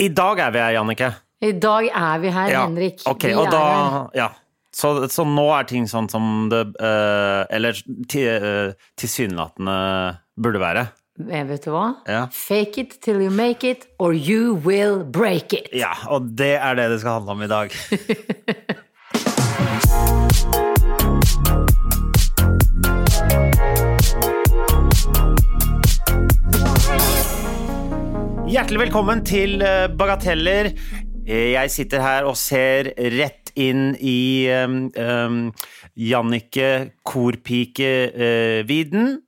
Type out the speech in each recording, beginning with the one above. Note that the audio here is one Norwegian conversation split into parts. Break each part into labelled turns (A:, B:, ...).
A: I dag er vi her, Jannicke.
B: I dag er vi her,
A: Ja,
B: Henrik.
A: ok,
B: vi
A: og
B: er
A: da,
B: her.
A: ja. Så, så nå er ting sånn som det eh, Eller ti- eh, tilsynelatende burde være.
B: Eh, Vet du hva?
A: Ja.
B: Fake it till you make it, or you will break it.
A: ja, og det er det det skal handle om i dag. Hjertelig velkommen til eh, Bagateller. Eh, Jeg sitter her og ser rett inn i um, um, Jannicke Korpike-viden.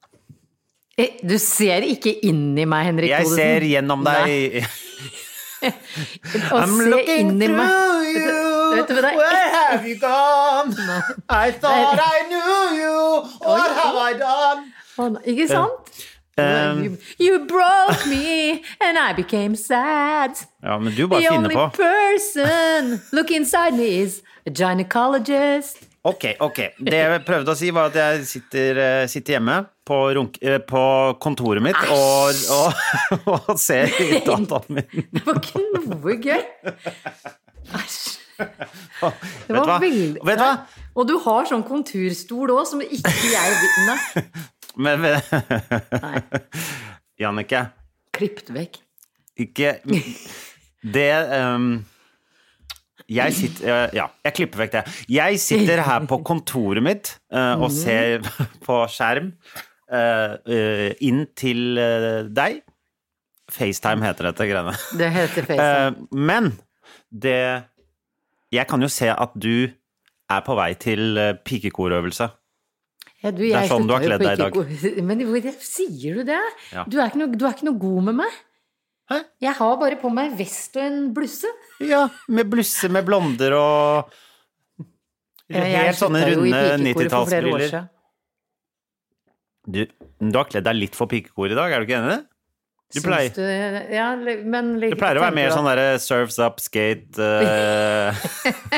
B: Eh, Du ser ikke inn i meg, Henrik
A: Jeg
B: Thodesen.
A: ser gjennom deg.
B: Nei, å se inn i meg.
A: you.
B: Vet du- vet du hva det er? Where
A: have you gone? I
B: thought Det
A: I knew you.
B: What have
A: I done?
B: Å, nei, Ikke sant?
A: Um,
B: you, you broke me, and I became sad.
A: Ja, men du
B: The
A: bare finner
B: only
A: på.
B: person look inside me is a gynecologist.
A: Ok, ok. Det jeg prøvde å si, var at jeg sitter, eh, sitter hjemme på, runk, eh, på kontoret mitt og, og, og ser i dataen min.
B: Det var ikke noe gøy. Æsj.
A: Vet du hva?
B: veldig-
A: Vet du hva?
B: Og du har sånn konturstol òg, som ikke jeg vil- Nei,
A: Men, men Jannicke,
B: klippet vekk.
A: ikke Det ehm, Jeg sitter eh, Ja, jeg klipper vekk det. Jeg sitter her på kontoret mitt eh, og ser på skjerm eh, eh, inn til eh, deg. FaceTime heter dette greiene.
B: Det heter face.
A: Eh, men det Jeg kan jo se at du er på vei til eh, pikekorøvelse.
B: Ja, du,
A: er
B: jeg
A: sånn du har
B: slutta
A: kledd deg
B: jo
A: i
B: på ikke gå- Men hvor- sier du det?
A: Ja.
B: Du, er ikke noe, du er ikke noe god med meg.
A: Hæ?
B: Jeg har bare på meg en vest og en blusse.
A: Ja, med blusse med blonder og
B: Ja, jeg
A: Helt sånne
B: slutta jo i
A: runde
B: pikekoret for flere år
A: 90-tallsbriller.
B: siden.
A: Du, du har kledd deg litt for pikekor i dag, er du ikke enig? Du
B: Syns
A: pleier,
B: du, ja, le- men
A: du pleier å være mer sånn derre surfs up, skate, eh,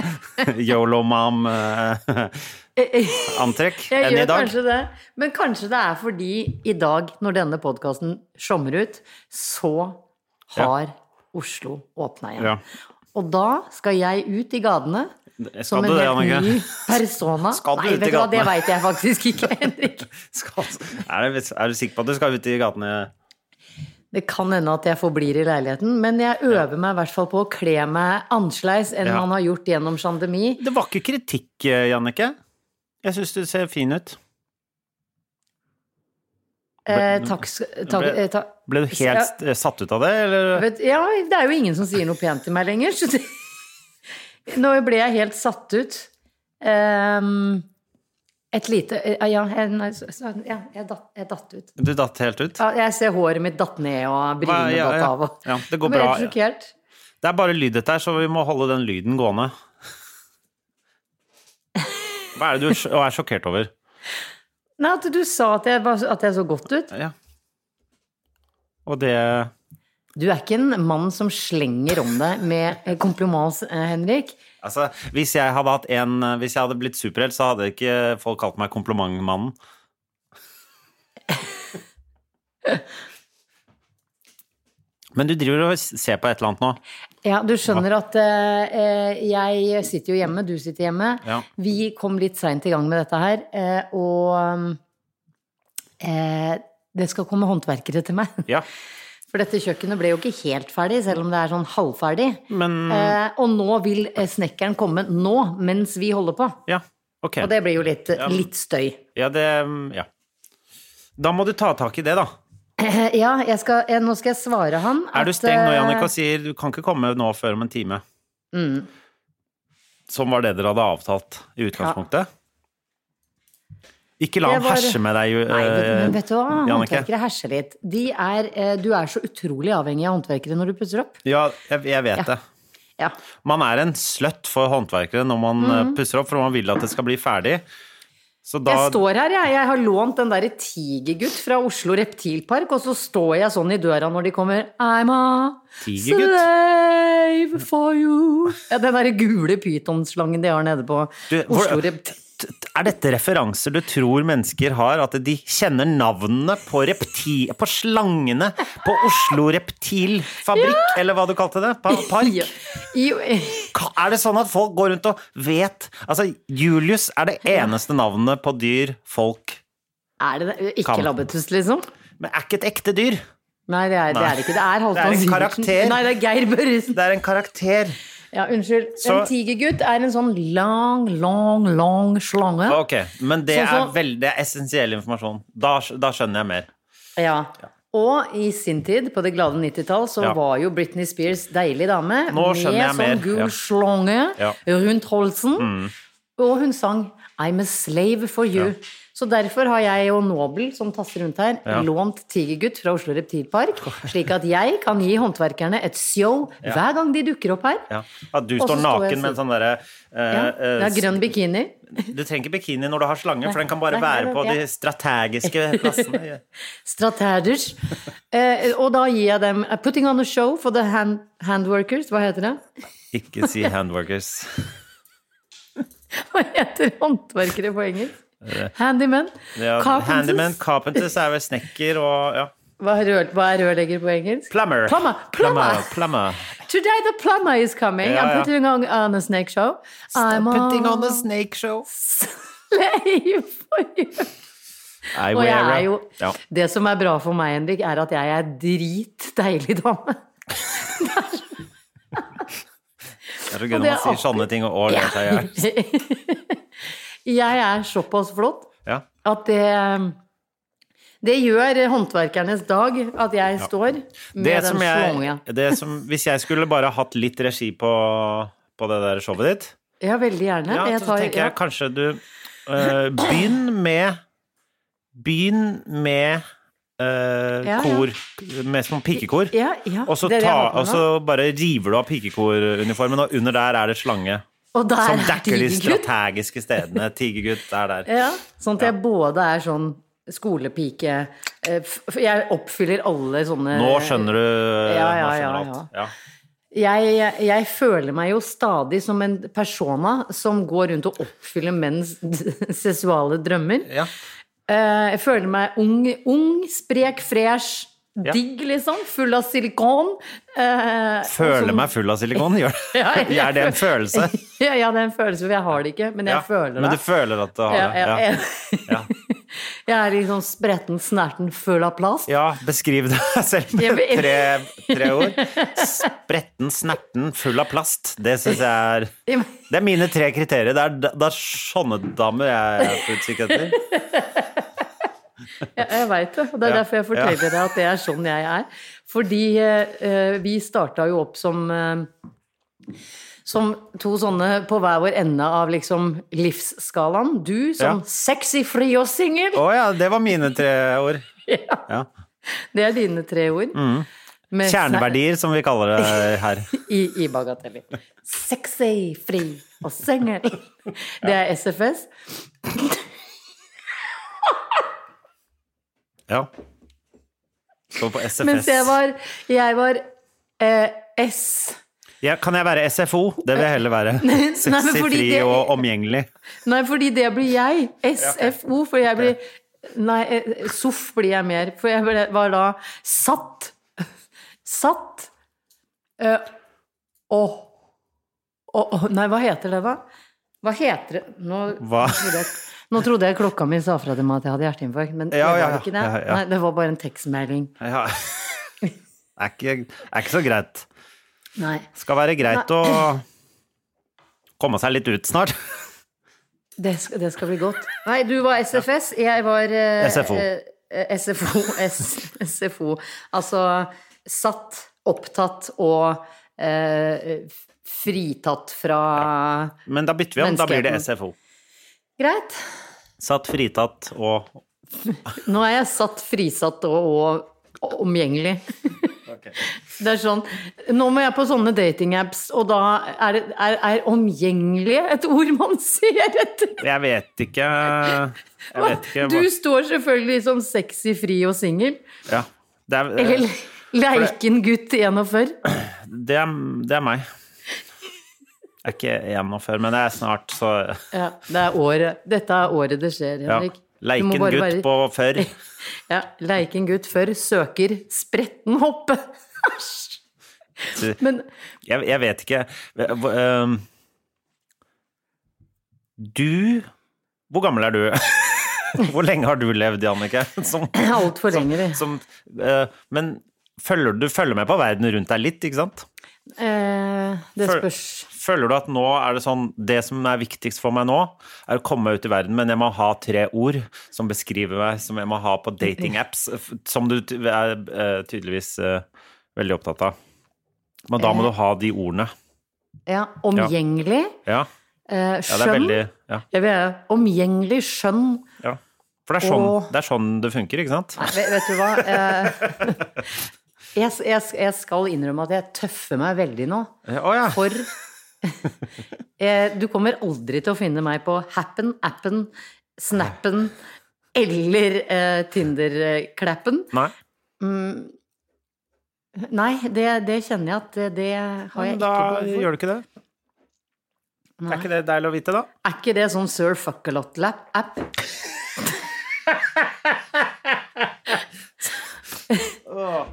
A: yolo mom eh, antrekk
B: Jeg
A: enn
B: gjør
A: i dag.
B: kanskje det. Men kanskje det er fordi i dag, når denne podkasten sommer ut, så har Oslo åpna igjen.
A: Ja.
B: Og da skal jeg ut i gatene som
A: du
B: en
A: det,
B: helt
A: Jannicke?
B: ny persona.
A: Skal du
B: Nei,
A: ut i
B: vet du hva, det
A: gatene?
B: veit jeg faktisk ikke, Henrik.
A: Skal, er, du, er du sikker på at du skal ut i gatene?
B: Det kan hende at jeg forblir i leiligheten, men jeg øver meg i hvert fall på å kle meg annerledes enn
A: Ja.
B: man har gjort gjennom pandemi.
A: Det var ikke kritikk, eh, Jannicke. Jeg syns du ser fin ut.
B: Eh, takk skal takk- eh, takk-
A: Ble du helt eh, satt ut av det, eller?
B: Vet, ja, det er jo ingen som sier noe pent til meg lenger. Så det... Nå ble jeg helt satt ut. Ehm, et lite eh, Ja, jeg, nei, så- så- ja, jeg, datt, jeg datt ut.
A: Du datt helt ut?
B: Ja, jeg ser håret mitt datt ned og
A: Hva-
B: brynene
A: ja,
B: datt
A: ja.
B: av. Og...
A: Ja, det går
B: Jeg ble
A: bra, ja.
B: helt sjokkert.
A: Det er bare lyd dette her, så vi må holde den lyden gående. Hva er det du sj- er sjokkert over?
B: Nei, at du sa at jeg, var, at jeg så godt ut.
A: Ja. Og det
B: Du er ikke en mann som slenger om deg med eh, kompliments, eh, Henrik.
A: Altså, hvis jeg hadde hatt en Hvis jeg hadde blitt superhelt, så hadde ikke folk kalt meg komplimentmannen. Men du driver og s- ser på et eller annet nå.
B: Ja, du skjønner at eh, eh, jeg sitter jo hjemme, du sitter hjemme.
A: Ja.
B: Vi kom litt seint i gang med dette her, eh, og eh, det skal komme håndverkere til meg.
A: Ja.
B: For dette kjøkkenet ble jo ikke helt ferdig, selv om det er sånn halvferdig.
A: Men
B: Eh, og nå vil eh, snekkeren komme nå, mens vi holder på.
A: Ja, ok.
B: Og det blir jo litt, litt støy.
A: Ja, det Ja. Da må du ta tak i det, da.
B: Eh, Ja, jeg skal, eh, nå skal jeg svare han.
A: Er du
B: at,
A: streng nå, Jannicke,
B: eh,
A: og sier du kan ikke komme nå før om en time?
B: Mm.
A: Som var det dere hadde avtalt i utgangspunktet? Ikke la
B: Det
A: ham
B: var-
A: herse med deg, eh,
B: Nei, vet, men vet du hva?
A: Jannicke.
B: Håndverkere herser litt. De er, eh, du er så utrolig avhengig av håndverkere når du pusser opp.
A: Ja, jeg, jeg vet det.
B: Ja.
A: Man er en sløtt for håndverkere når man eh, pusser opp, for man vil at det skal bli ferdig. Så da
B: Mm. Jeg står her, jeg. Jeg har lånt den derre Tigergutt fra Oslo Reptilpark, og så står jeg sånn i døra når de kommer I'm a
A: Tigergutt?
B: slave for you. Ja, den derre gule pytonslangen de har nede på
A: Du, hvor-
B: Oslo Reptil...
A: T- Er dette referanser du tror mennesker har? At de kjenner navnene på, repti, på slangene på Oslo Reptilfabrikk, eller hva du kalte det? Pa park?
B: Ja. I,
A: Ka- Er det sånn at folk går rundt og vet Altså, Julius er det eneste navnet på dyr folk
B: er det det? Ikke
A: Kan-
B: labbetuss, liksom?
A: Men er ikke et ekte dyr.
B: Nei, det er det, er det ikke. Det er
A: Det er
B: Halvdan
A: en
B: Sivertsen.
A: karakter.
B: Nei, det er Geir Børresen.
A: Det er en karakter.
B: Ja, unnskyld.
A: Så-
B: En tigergutt er en sånn lang, lang, lang slange.
A: Ok, Men det
B: Sånn som-
A: er veldig det er essensiell informasjon. Da, skj- da skjønner jeg mer.
B: Ja. Og i sin tid, på det glade 90-tall, så
A: Ja.
B: var jo Britney Spears deilig dame.
A: Nå skjønner jeg
B: med sånn
A: mer,
B: gul
A: ja.
B: slange
A: Ja. Mm.
B: rundt halsen. Og hun sang I'm a slave for you. Så derfor har jeg og Nobel, som tasser rundt her, lånt Tigergutt fra Oslo Reptilpark. Slik at jeg kan gi håndverkerne et show hver gang de dukker opp her.
A: Ja. At du
B: Og så
A: står
B: står jeg
A: naken med en
B: sånn-
A: sånn derre
B: Ja,
A: eh,
B: det
A: eh,
B: er grønn bikini.
A: Du trenger ikke bikini når du har slange, for den kan bare
B: nei, nei,
A: være
B: nei,
A: på
B: ja.
A: de strategiske plassene.
B: Strategers. Eh, og da gir jeg dem eh, Putting on a show for the hand, handworkers. Hva heter det?
A: Ikke si handworkers.
B: Hva heter håndverkere på engelsk? Handyman.
A: Ja,
B: Carpenters.
A: handyman, carpenters er vel snekker og ja.
B: Hva er, rør, hva er rørlegger på engelsk?
A: Plumber.
B: Plumber. Plumber.
A: Plumber.
B: Today the plumber is coming.
A: Ja, ja.
B: I'm putting on, on a snake show. I'm
A: Putting
B: a
A: on a snake show.
B: slave for you.
A: I
B: Og jeg
A: wear a-
B: er jo,
A: ja.
B: Det som er bra for meg, Henrik, er at jeg er dritdeilig dame.
A: Det er så
B: og
A: gøy
B: det
A: når man
B: er
A: sier sånne ting og ler seg i hjel.
B: Jeg er såpass flott
A: Ja.
B: at det det gjør håndverkernes dag at jeg står med
A: Det
B: den
A: som
B: slonga.
A: jeg det som, Hvis jeg skulle bare hatt litt regi på, på det der showet ditt,
B: Ja, veldig gjerne.
A: ja,
B: jeg
A: så
B: tar,
A: tenker jeg kanskje du eh, Begynn med Begynn med eh,
B: Ja, ja.
A: kor, med små pikekor.
B: ja, ja,
A: Og så,
B: det er det
A: ta, altså,
B: jeg har på
A: og så
B: nå.
A: bare river du av pikekoruniformen, og under der er det slange.
B: Og der
A: Som
B: er
A: dekker de
B: tigergutt.
A: strategiske stedene. Tigergutt er der.
B: Ja, sånn at jeg både er sånn skolepike eh, f- f- Jeg oppfyller alle sånne
A: Nå skjønner du
B: Ja, ja,
A: nå skjønner du
B: ja,
A: alt.
B: jeg, jeg, jeg føler meg jo stadig som en persona som går rundt og oppfyller menns seksuale drømmer.
A: Ja.
B: Eh, Jeg føler meg ung, ung sprek, fresh,
A: Ja.
B: digg, liksom. Full av silikon. Eh, og
A: Føler
B: sånn-
A: meg full av silikon, gjør det.
B: Ja, jeg-
A: Er det en følelse?
B: Ja, ja, det er en følelse, for jeg har det ikke, men jeg
A: Ja,
B: føler det.
A: Men du føler at du har
B: Ja,
A: det.
B: ja,
A: Ja,
B: jeg- Jeg er liksom spretten, snerten, full av plast.
A: ja beskriv deg selv
B: Jeg
A: med
B: blir-
A: tre, tre ord. Spretten, snerten, full av plast. Det syns jeg er Det er mine tre kriterier. Det er, det er sånne damer jeg er på utkikk etter.
B: Jeg, jeg veit det, og det er
A: Ja,
B: derfor jeg forteller deg at det er sånn jeg er. Fordi eh, eh, vi starta jo opp som eh, som to sånne på hver vår ende av liksom livsskalaen. Du som
A: Ja.
B: sexy, fri og singel.
A: Å ja, det var mine tre ord. Ja.
B: Det er dine tre ord.
A: Mm.
B: Med
A: Kjerneverdier, som vi kaller det her.
B: sne- I, i bagateller. Sexy, fri og singel. Det er SFS.
A: Ja. Så på SFS.
B: Mens jeg var, jeg var eh, S.
A: ja, kan jeg være SFO? Det vil jeg heller være. Sexy,
B: fordi
A: fri
B: det-
A: og omgjengelig.
B: Nei, fordi det blir jeg. SFO. For jeg blir Nei, eh, SOF blir jeg mer. For jeg ble, var da satt. Satt. Eh, og og- og- Nei, hva heter det, da? Hva heter det Nå,
A: Hva?
B: trodde jeg, nå trodde jeg klokka mi sa fra til meg at jeg hadde hjerteinfarkt, men
A: Ja,
B: det
A: ja,
B: var ikke det.
A: ja, ja.
B: Nei, det var bare en tekstmelding.
A: Ja. Er ikke, er ikke så greit.
B: Nei.
A: Skal være greit å komme seg litt ut snart.
B: Det skal, det skal bli godt. Nei, du var SFS, jeg var eh,
A: SFO.
B: eh, SFO, S, SFO. Altså satt, opptatt og eh, f- fritatt fra
A: Men da bytter vi om. Da blir det SFO.
B: Greit.
A: Satt fritatt og
B: Nå er jeg satt, frisatt og, og omgjengelig. Det er sånn Nå må jeg på sånne datingapps, og da er, det- er, er omgjengelige et ord man ser etter.
A: Jeg vet ikke Jeg vet ikke
B: Du
A: hva
B: står selvfølgelig som sexy, fri og singel.
A: ja. det, er,
B: Eller
A: det,
B: Leikengutt 41.
A: er, det er meg. Jeg er ikke 41, men det er snart, så
B: Ja, det er året. Dette er året det skjer,
A: ja.
B: Henrik. Du må
A: Leiken
B: bare
A: gutt
B: være-
A: på før.
B: Ja, Leikengutt før søker spretten hoppe. Æsj! Men
A: Jeg, jeg vet ikke Hva- ehm, Du Hvor gammel er du? Hvor lenge har du levd, Jannicke? Som,
B: altfor lenge, vi.
A: som, eh, men følger, du følger med på verden rundt deg litt, ikke sant?
B: Eh, det
A: Føl-
B: spørs.
A: Føler du at nå er det sånn Det som er viktigst for meg nå, er å komme meg ut i verden, men jeg må ha tre ord som beskriver meg, som jeg må ha på datingapps, f- som du ty- er eh, tydeligvis eh, veldig opptatt av. Men da må du ha de ordene.
B: Ja, omgjengelig.
A: Ja,
B: Eh,
A: ja det er
B: skjønn.
A: veldig ja,
B: Jeg vil ha omgjengelig skjønn.
A: ja. For det er, sånn,
B: Og-
A: det er sånn det funker, ikke sant?
B: Nei, vet, vet du hva? Eh, jeg, jeg, jeg skal innrømme at jeg tøffer meg veldig nå.
A: Eh, Å ja.
B: For eh, Du kommer aldri til å finne meg på Happen, Appen, Snappen eller eh, Tinder-klappen.
A: Nei.
B: Nei, det, det kjenner jeg at eh, det, det har jeg
A: Da
B: ikke behov for.
A: gjør du ikke det. Er ikke det deilig å vite, da?
B: Er ikke det sånn Sir Fuckalot-app?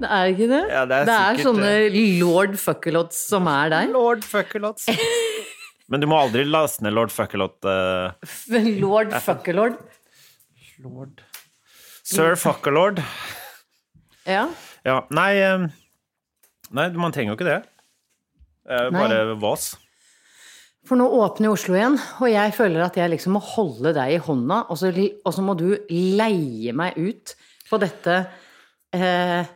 B: Det er ikke det?
A: Ja, det er sikkert
B: sånne lord fuckalots som er der.
A: Lord Fuckerlots. Men du må aldri laste ned Lord Fuckerlot. eh,
B: Lord fuckalord.
A: Sir Fuckerlord.
B: Ja.
A: Ja, nei eh, Nei, man trenger jo ikke det. Det er jo
B: Nei.
A: bare vås.
B: For nå åpner Oslo igjen, og jeg føler at jeg liksom må holde deg i hånda, og så, li- og så må du leie meg ut på dette eh,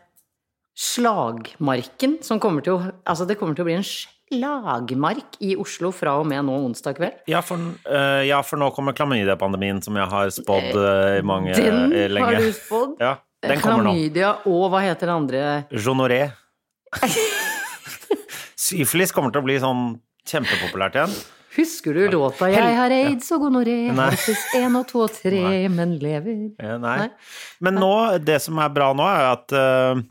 B: slagmarken som kommer til å Altså, det kommer til å bli en slagmark i Oslo fra og med nå onsdag kveld.
A: Ja, for, eh, ja, for nå kommer klamydia-pandemien, som jeg har spådd eh, i mange
B: Den
A: eh, lenge.
B: har du spådd.
A: Ja, den kommer nå.
B: Klamydia og hva heter det andre
A: Jonoré. Syfilis kommer til å bli sånn kjempepopulært igjen.
B: Husker du låta 'Jeg har aids og gonoré',
A: Nei.
B: herpes 1 og 2 og 3, men lever?
A: Eh, Nei.
B: Nei.
A: Men nå, det som er bra nå, er at eh,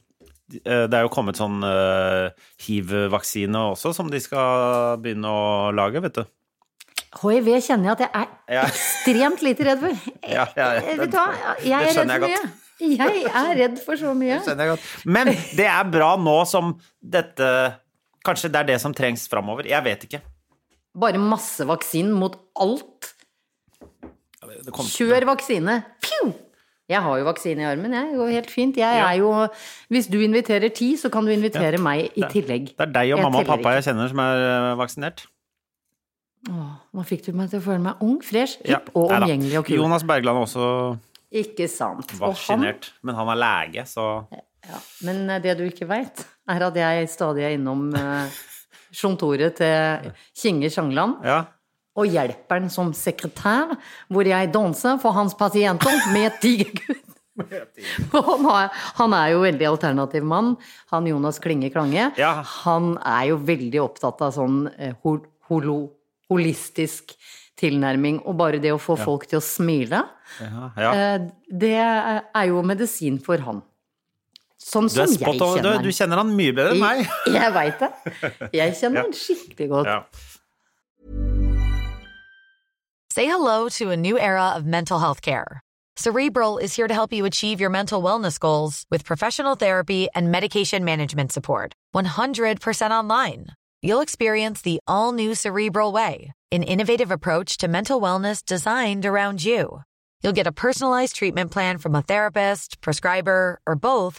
A: eh, det er jo kommet sånn eh, hiv-vaksine også, som de skal begynne å lage, vet du.
B: HIV kjenner jeg at jeg er
A: Ja.
B: ekstremt lite redd for.
A: Ja, ja, ja.
B: Eh, Vet du hva, jeg
A: Det
B: er redd
A: skjønner
B: for
A: jeg
B: mye. Jeg er redd for så mye.
A: Men det er bra nå som dette Kanskje det er det som trengs framover. Jeg vet ikke.
B: Bare masse vaksinen mot alt.
A: Det kom-
B: Kjør vaksine. Pju! Jeg har jo vaksine i armen, jeg. Det går helt fint. Jeg er jo Hvis du inviterer ti, så kan du invitere meg i tillegg.
A: Det er deg og
B: Jeg
A: mamma og
B: teller
A: pappa jeg kjenner som er eh, vaksinert.
B: Nå fikk du meg til å føle meg ung, fresh,
A: Ja.
B: hipp og
A: Nei da.
B: omgjengelig og kul.
A: Jonas Bergland er også
B: Ikke sant. Og han
A: vaksinert, men han er lege, så
B: Ja, men eh, det du ikke veit, er at jeg stadig er innom eh, kontoret til Kinge Sjangland
A: Ja.
B: og hjelper han som sekretær, hvor jeg danser for hans pasienter med tigergud. Og Han, har- han er jo veldig alternativ mann, han Jonas Klinge Klange.
A: Ja.
B: Han er jo veldig opptatt av sånn eh, hol, holo, holistisk tilnærming, og bare det å få folk til å smile.
A: ja, ja.
B: Eh, Det er jo medisin for han. Sånn
A: Du, er
B: som jeg
A: spot on.
B: kjenner
A: du,
B: han.
A: du kjenner han mye bedre enn meg.
B: Jeg, jeg veit det. Jeg kjenner han skikkelig godt.
A: Ja.
C: Say hello to a new era of mental health care. Cerebral is here to help you achieve your mental wellness goals with professional therapy and medication management support. 100% online. You'll experience the all new Cerebral Way, an innovative approach to mental wellness designed around you. You'll get a personalized treatment plan from a therapist, prescriber, or both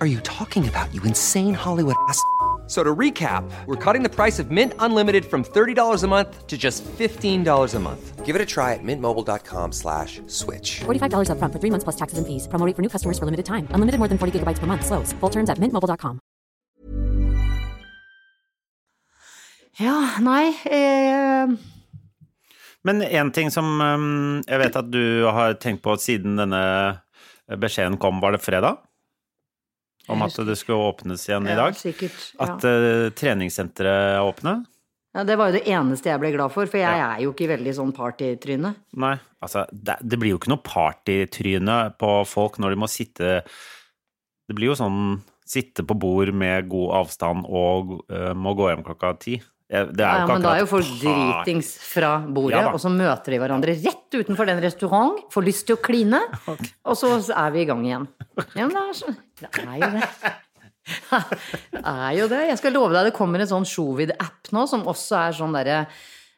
D: are you talking about, you insane Hollywood ass? f- a-" So to recap, we're cutting the price of Mint Unlimited from $30 a month to just $15 a month. Give it a try at mintmobile.com slash switch.
E: $45 upfront for three months plus taxes and fees. Promo rate for new customers for limited time. Unlimited more than 40 gigabytes per month. Slows. Full terms at mintmobile.com.
B: Ja, nei eh,
A: Men en ting som um, jeg vet at du har tenkt på siden denne beskjeden kom, var det fredag? Om at det skulle åpnes igjen i
B: ja,
A: dag?
B: Sikkert. Ja.
A: At uh, treningssenteret er åpne?
B: ja, det var jo det eneste jeg ble glad for, for jeg
A: Ja.
B: er jo ikke veldig sånn partytryne.
A: Nei. Altså, det, det blir jo ikke noe partytryne på folk når de må sitte Det blir jo sånn sitte på bord med god avstand og eh, må gå hjem klokka ti. Eh, Det er
B: Ja,
A: jo
B: ja,
A: ikke
B: men da er jo folk
A: akkurat par-
B: dritings fra bordet,
A: Ja da.
B: og så møter de hverandre rett utenfor den restaurant, får lyst til å kline, og så er vi i gang igjen. Ja, men det er, så, det er jo det. Det er jo det. Jeg skal love deg, det kommer en sånn Sjovid-app nå, som også er sånn derre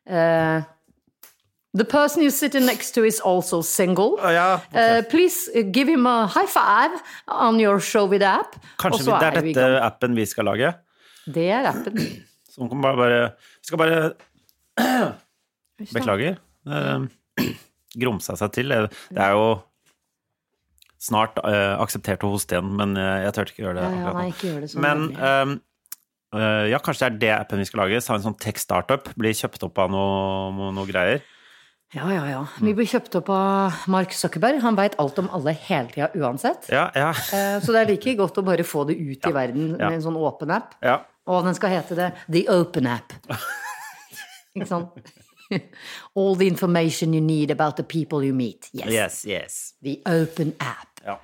B: eh, The person you sit next to is also single.
A: Å, ja, ok.
B: Eh, please eh, give him a high five on your Sjovid app.
A: Kanskje
B: og
A: vi,
B: så
A: det er
B: vi i
A: dette
B: gang.
A: appen vi skal lage?
B: Det er appen.
A: Som kan bare, bare Vi skal bare Beklager. Eh, Grumsa seg til. Eh, Det er jo snart eh, akseptert å hoste igjen, men eh, jeg turte ikke gjøre det
B: Ja, ja,
A: akkurat nå.
B: nei, ikke gjør det sånn.
A: Men eh, eh, ja, kanskje det er det appen vi skal lage. Så ha en sånn tech-startup. Bli kjøpt opp av noe, noe, noe greier.
B: Ja, ja, ja. Vi blir kjøpt opp av Mark Zuckerberg. Han veit alt om alle hele tida uansett.
A: Ja, ja.
B: Eh, Så det er like godt å bare få det ut i verden
A: ja.
B: med en sånn åpen app.
A: ja.
B: Og den skal hete det The Open App. Ikke sant? All the information you need about the people you meet. Yes.
A: Yes, yes.
B: The Open App.
A: Ja.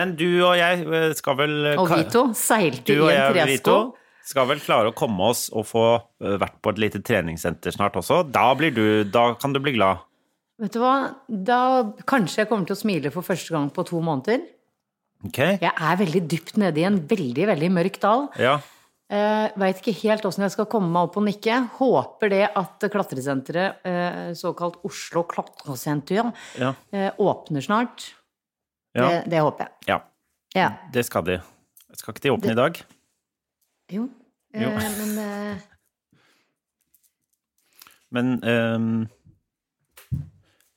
A: Men du og jeg eh, skal vel eh,
B: Og
A: ka-
B: Vito seilte
A: Du
B: i
A: og
B: en
A: jeg,
B: tresko.
A: Vito, skal vel klare å komme oss og få eh, vært på et lite treningssenter snart også. Da, blir du, da kan du bli glad.
B: Vet du hva? Da kanskje jeg kommer til å smile for første gang på to måneder.
A: Ok?
B: Jeg er veldig dypt nede i en veldig, veldig mørk dal.
A: Ja.
B: Uh, Veit ikke helt åssen jeg skal komme meg opp og nikke. Håper det at klatresenteret, eh, såkalt Oslo Klatresenter,
A: Ja.
B: eh, åpner snart.
A: Ja.
B: Det, det håper jeg.
A: ja.
B: Ja.
A: Det skal de. Skal ikke de åpne i dag?
B: Jo. Eh,
A: Jo.
B: men eh,
A: Men ehm,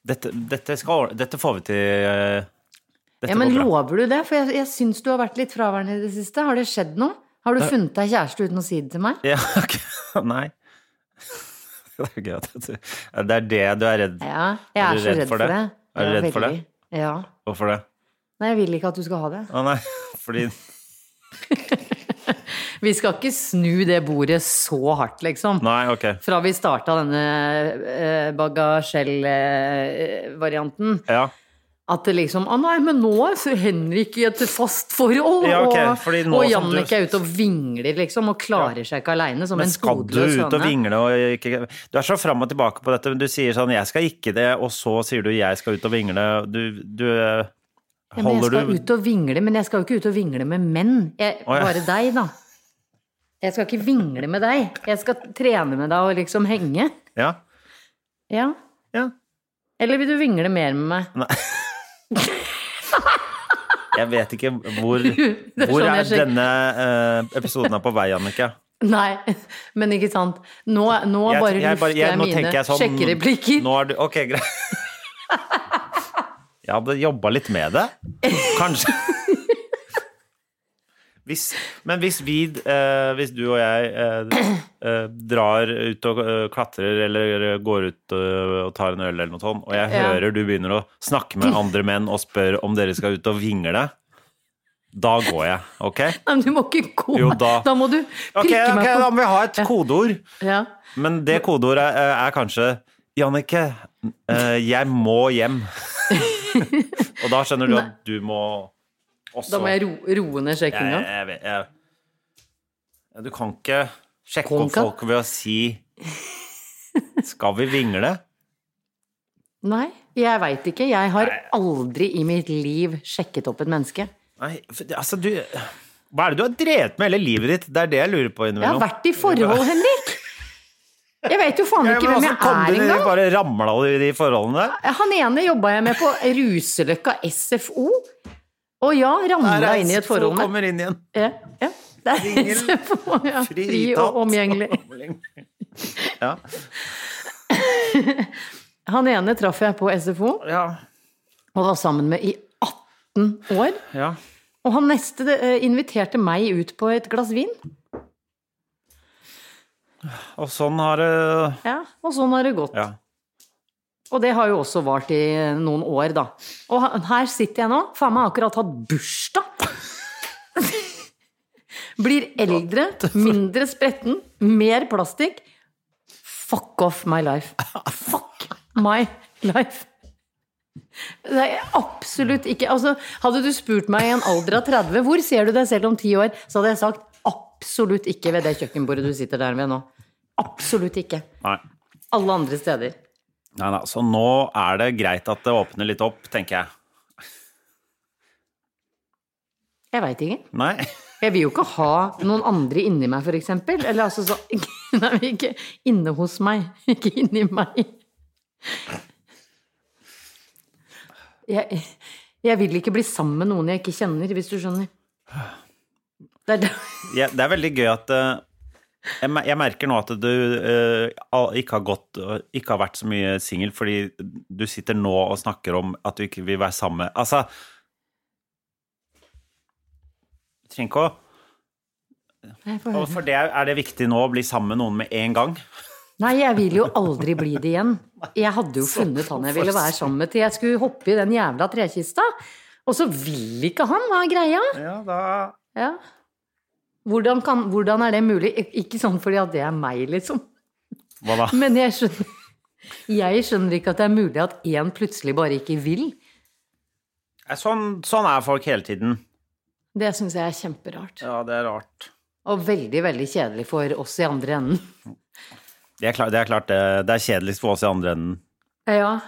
A: dette, dette, skal, dette får vi til eh, dette
B: ja, men
A: går bra.
B: lover du det? For jeg, jeg syns du har vært litt fraværende i det siste. Har det skjedd noe? Har du funnet deg kjæreste uten å si det til meg?
A: Ja, ok. Nei. Det er, gøy at du, det er det du er redd
B: Ja, jeg
A: Er
B: er,
A: du
B: så redd for det.
A: Er du
B: Ja,
A: redd for det?
B: veldig. Ja.
A: Hvorfor det?
B: Nei, jeg vil ikke at du skal ha det.
A: Å nei, fordi
B: Vi skal ikke snu det bordet så hardt, liksom.
A: Nei, ok.
B: Fra vi starta denne bagasjell-varianten.
A: Ja.
B: At det liksom Å nei, men nå er så Henrik i et fast forhold!
A: Ja, ok, fordi
B: og,
A: nå
B: og
A: som du-
B: Jannicke er ute og vingler, liksom, og klarer seg ikke aleine som
A: Men
B: en
A: skal du
B: hodeløs
A: ut og
B: høne.
A: vingle og ikke Du er så fram og tilbake på dette, men du sier sånn 'jeg skal ikke det', og så sier du 'jeg skal ut og vingle'. Du, du eh,
B: Ja, men jeg
A: Holder
B: skal
A: du
B: ut og vingle, men jeg skal jo ikke ut og vingle med menn. Jeg,
A: Å, ja.
B: Bare deg, da. Jeg skal ikke vingle med deg. Jeg skal trene med deg og liksom henge.
A: Ja.
B: Ja.
A: ja.
B: Eller vil du vingle mer med meg?
A: Jeg vet ikke hvor,
B: er
A: hvor
B: sånn
A: er
B: jeg sjek-
A: denne eh, episoden er på vei, Annike.
B: Nei, men ikke sant. Nå, nå bare lufter jeg,
A: nå
B: mine
A: tenker jeg sånn,
B: sjekkereplikker.
A: Nå er du, ok, greit. Jeg hadde jobba litt med det. Kanskje. Hvis, men hvis vi, eh, hvis du og jeg eh, eh, drar ut og eh, klatrer eller går ut eh, og tar en øl eller noe sånt, og jeg
B: Ja.
A: hører du begynner å snakke med andre menn og spør om dere skal ut og vingle, da går jeg, ok?
B: Nei, men du må ikke gå.
A: Jo, da.
B: må du
A: Ok,
B: prikke
A: ok,
B: meg
A: da
B: på
A: må vi ha et kodeord.
B: ja.
A: Men det kodeordet eh, er kanskje Jannicke, eh, jeg må hjem. Og da skjønner du at du må også
B: Da må jeg ro, roe ned
A: jeg,
B: sjekkinga.
A: jeg, vet- jeg, Ja, Du kan ikke sjekke opp
B: Konka?
A: folk ved å si Skal vi vingle?
B: Nei, jeg veit ikke. Jeg har aldri i mitt liv sjekket opp et menneske.
A: Nei, for, det- altså, du Hva er det du har drevet med hele livet ditt? Det er det jeg lurer på
B: Jeg har
A: innimellom.
B: vært i forhold, Henrik! Jeg vet jo faen
A: Ja,
B: ikke
A: men
B: hvem
A: hvordan kom du
B: jeg er
A: ned i-
B: engang.
A: Bare ramla du i de forholdene der?
B: Han ene jobba jeg med på Ruseløkka SFO. Og ja, ramla inn i et
A: Så
B: forhold med.
A: kommer inn igjen.
B: Ja, ja. Det er
A: Singel,
B: SFO, ja. Fri
A: fritatt.
B: og omgjengelig.
A: Ja.
B: Han ene traff jeg på SFO
A: Ja.
B: og var sammen med i 18 år.
A: ja.
B: Og han neste eh, inviterte meg ut på et glass vin.
A: Og sånn har det
B: Ja, og sånn har det gått.
A: Ja.
B: Og det har jo også vart i noen år, da. Og ha- her sitter jeg nå, faen meg akkurat hatt bursdag! Blir eldre, mindre spretten, mer plastikk. Fuck off my life. Fuck my life. Det er absolutt ikke Altså, hadde du spurt meg i en alder av 30 hvor ser du deg selv om ti år, så hadde jeg sagt absolutt ikke ved det kjøkkenbordet du sitter der ved nå. Absolutt ikke.
A: Nei.
B: Alle andre steder.
A: Nei, nei. Så nå er det greit at det åpner litt opp, tenker jeg.
B: Jeg veit ikke.
A: Nei.
B: Jeg vil jo ikke ha noen andre inni meg, for eksempel. Eller altså så Nei, ikke inne hos meg. Ikke inni meg. Jeg, jeg vil ikke bli sammen med noen jeg ikke kjenner, hvis du skjønner. Det er det.
A: Ja, det er veldig gøy at eh, jeg, mer- jeg merker nå at du eh, al- ikke, har gått, og ikke har vært så mye singel, fordi du sitter nå og snakker om at du ikke vil være sammen med Altså Du trenger ikke å
B: Nei, få
A: og
B: høre.
A: For det er er det viktig nå å bli sammen med noen med en gang?
B: Nei, jeg vil jo aldri bli det igjen. Jeg hadde jo funnet han jeg ville være sammen med til jeg skulle hoppe i den jævla trekista. Og så vil ikke han, hva er greia?
A: Ja, da
B: Ja. Hvordan, kan, hvordan er det mulig? Ik- Ikke sånn fordi at det er meg, liksom.
A: Hva da?
B: Men jeg skjønner, jeg skjønner ikke at det er mulig at én plutselig bare ikke vil.
A: Eh, Sånn, sånn er folk hele tiden.
B: Det syns jeg er kjemperart.
A: Ja, det er rart.
B: Og veldig, veldig kjedelig for oss i andre enden.
A: Det er klart, det er, klart det, det er kjedeligst for oss i andre enden.
B: Ja,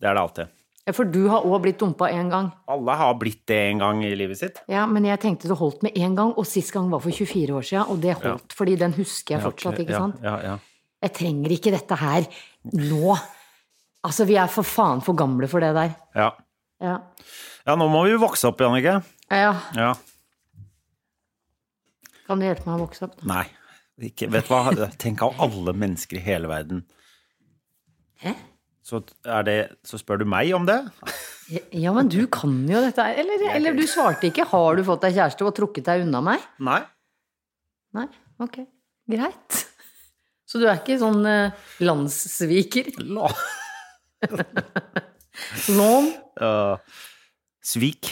A: Det er det alltid.
B: for du har òg blitt dumpa én gang.
A: Alle har blitt det en gang i livet sitt.
B: Ja, men jeg tenkte det holdt med én gang, og sist gang var for 24 år siden, og det holdt, fordi den husker jeg fortsatt, ikke sant?
A: Ja, ja, ja.
B: Jeg trenger ikke dette her nå. Altså, vi er for faen for gamle for det der.
A: Ja.
B: Ja.
A: ja, nå må vi jo vokse opp, Jannicke.
B: ja.
A: Ja.
B: Kan du hjelpe meg å vokse opp? da?
A: Nei. Ikke, vet du hva? Tenk av alle mennesker i hele verden.
B: Hæ?
A: Så, er det, så spør du meg om det?
B: Ja, men du kan jo dette her. Eller, eller du svarte ikke. Har du fått deg kjæreste og trukket deg unna meg?
A: Nei.
B: Nei? Ok. Greit. Så du er ikke sånn eh, landssviker?
A: La.
B: Non.
A: Øh, svik.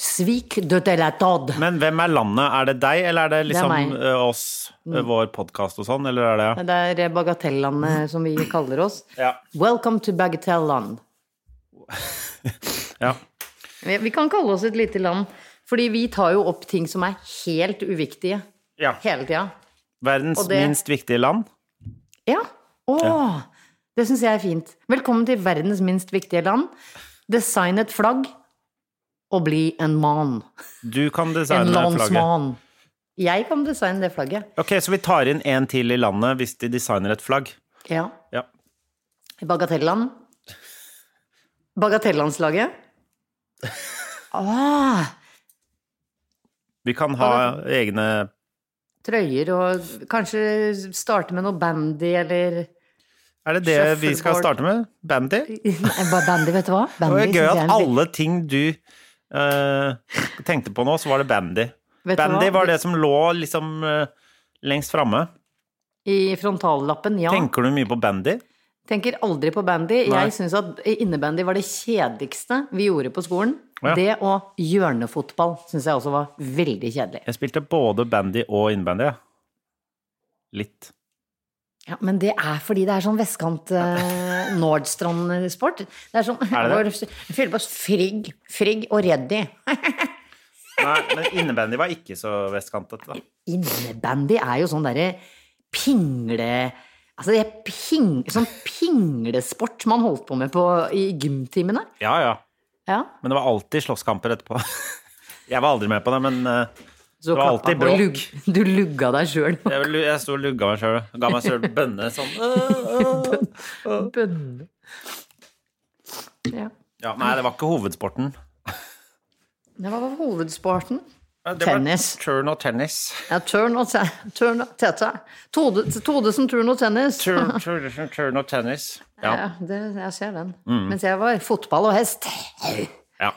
B: Svik de te la tad.
A: Men hvem er landet? Er det deg, eller er det liksom
B: meg. Mm.
A: øh, oss, øh, vår podkast og sånn, eller er det
B: Det er bagatellandet som vi kaller oss.
A: Ja.
B: Welcome to bagatelland.
A: ja.
B: Vi vi kan kalle oss et lite land, fordi vi tar jo opp ting som er helt uviktige
A: ja.
B: hele tida.
A: Verdens
B: Og det-
A: minst viktige land?
B: Ja. Åh, Det syns jeg er fint. Velkommen til verdens minst viktige land. Design et flagg og bli en man.
A: Du kan
B: En
A: designe flagget.
B: landsmann. Jeg kan designe det flagget.
A: Ok, Så vi tar inn en til i landet hvis de designer et flagg?
B: Ja.
A: Ja.
B: Bagatelland. Bagatellandslaget. Åh,
A: Vi kan ha egne
B: trøyer og kanskje starte med noe bandy eller
A: Er det det vi skal
B: Shuffleboard.
A: starte med? Bandy?
B: Nei, ba- Bandy, vet du hva?
A: Det
B: Bandy
A: var jo gøy
B: synes jeg er
A: at
B: en veld-
A: alle ting du eh, tenkte på nå, så var det bandy.
B: Vet du
A: Bandy
B: hva?
A: var det som lå liksom eh, lengst framme.
B: I frontallappen, ja.
A: Tenker du mye på bandy?
B: Tenker aldri på bandy.
A: Nei.
B: Jeg syns at innebandy var det kjedeligste vi gjorde på skolen.
A: Ja.
B: Det og hjørnefotball syns jeg også var veldig kjedelig.
A: Jeg spilte både bandy og innebandy. ja. Litt.
B: Ja, men det er fordi det er sånn vestkant eh, Nordstrand-sport. Det er sånn
A: Er det
B: Vi fyller på oss frigg, frigg og reddy.
A: Nei, men innebandy var ikke så vestkantete, da.
B: Innebandy er jo sånn derre pingle... Altså, det er ping, sånn pinglesport man holdt på med på, i gymtimene.
A: Ja, ja.
B: Ja.
A: Men det var alltid slåsskamper etterpå. Jeg var aldri med på det, men eh,
B: Så
A: det var
B: klappa
A: alltid
B: på,
A: bråk.
B: lugg- du lugga deg sjøl.
A: Jeg, lu- jeg sto og lugga meg sjøl. Ga meg sjøl bønne sånn. «Åh, åh».
B: Bønne. Ja.
A: Ja, nei, det var ikke hovedsporten.
B: Det var hovedsporten.
A: Det var
B: Tennis.
A: Turn og tennis.
B: Ja, turn og te- turn og tete. Tode, Todesen turn og tennis.
A: Turn, turn, turn og tennis. Ja. Mm.
B: Ja, det, jeg ser den. Mens jeg var fotball og hest.
A: ja.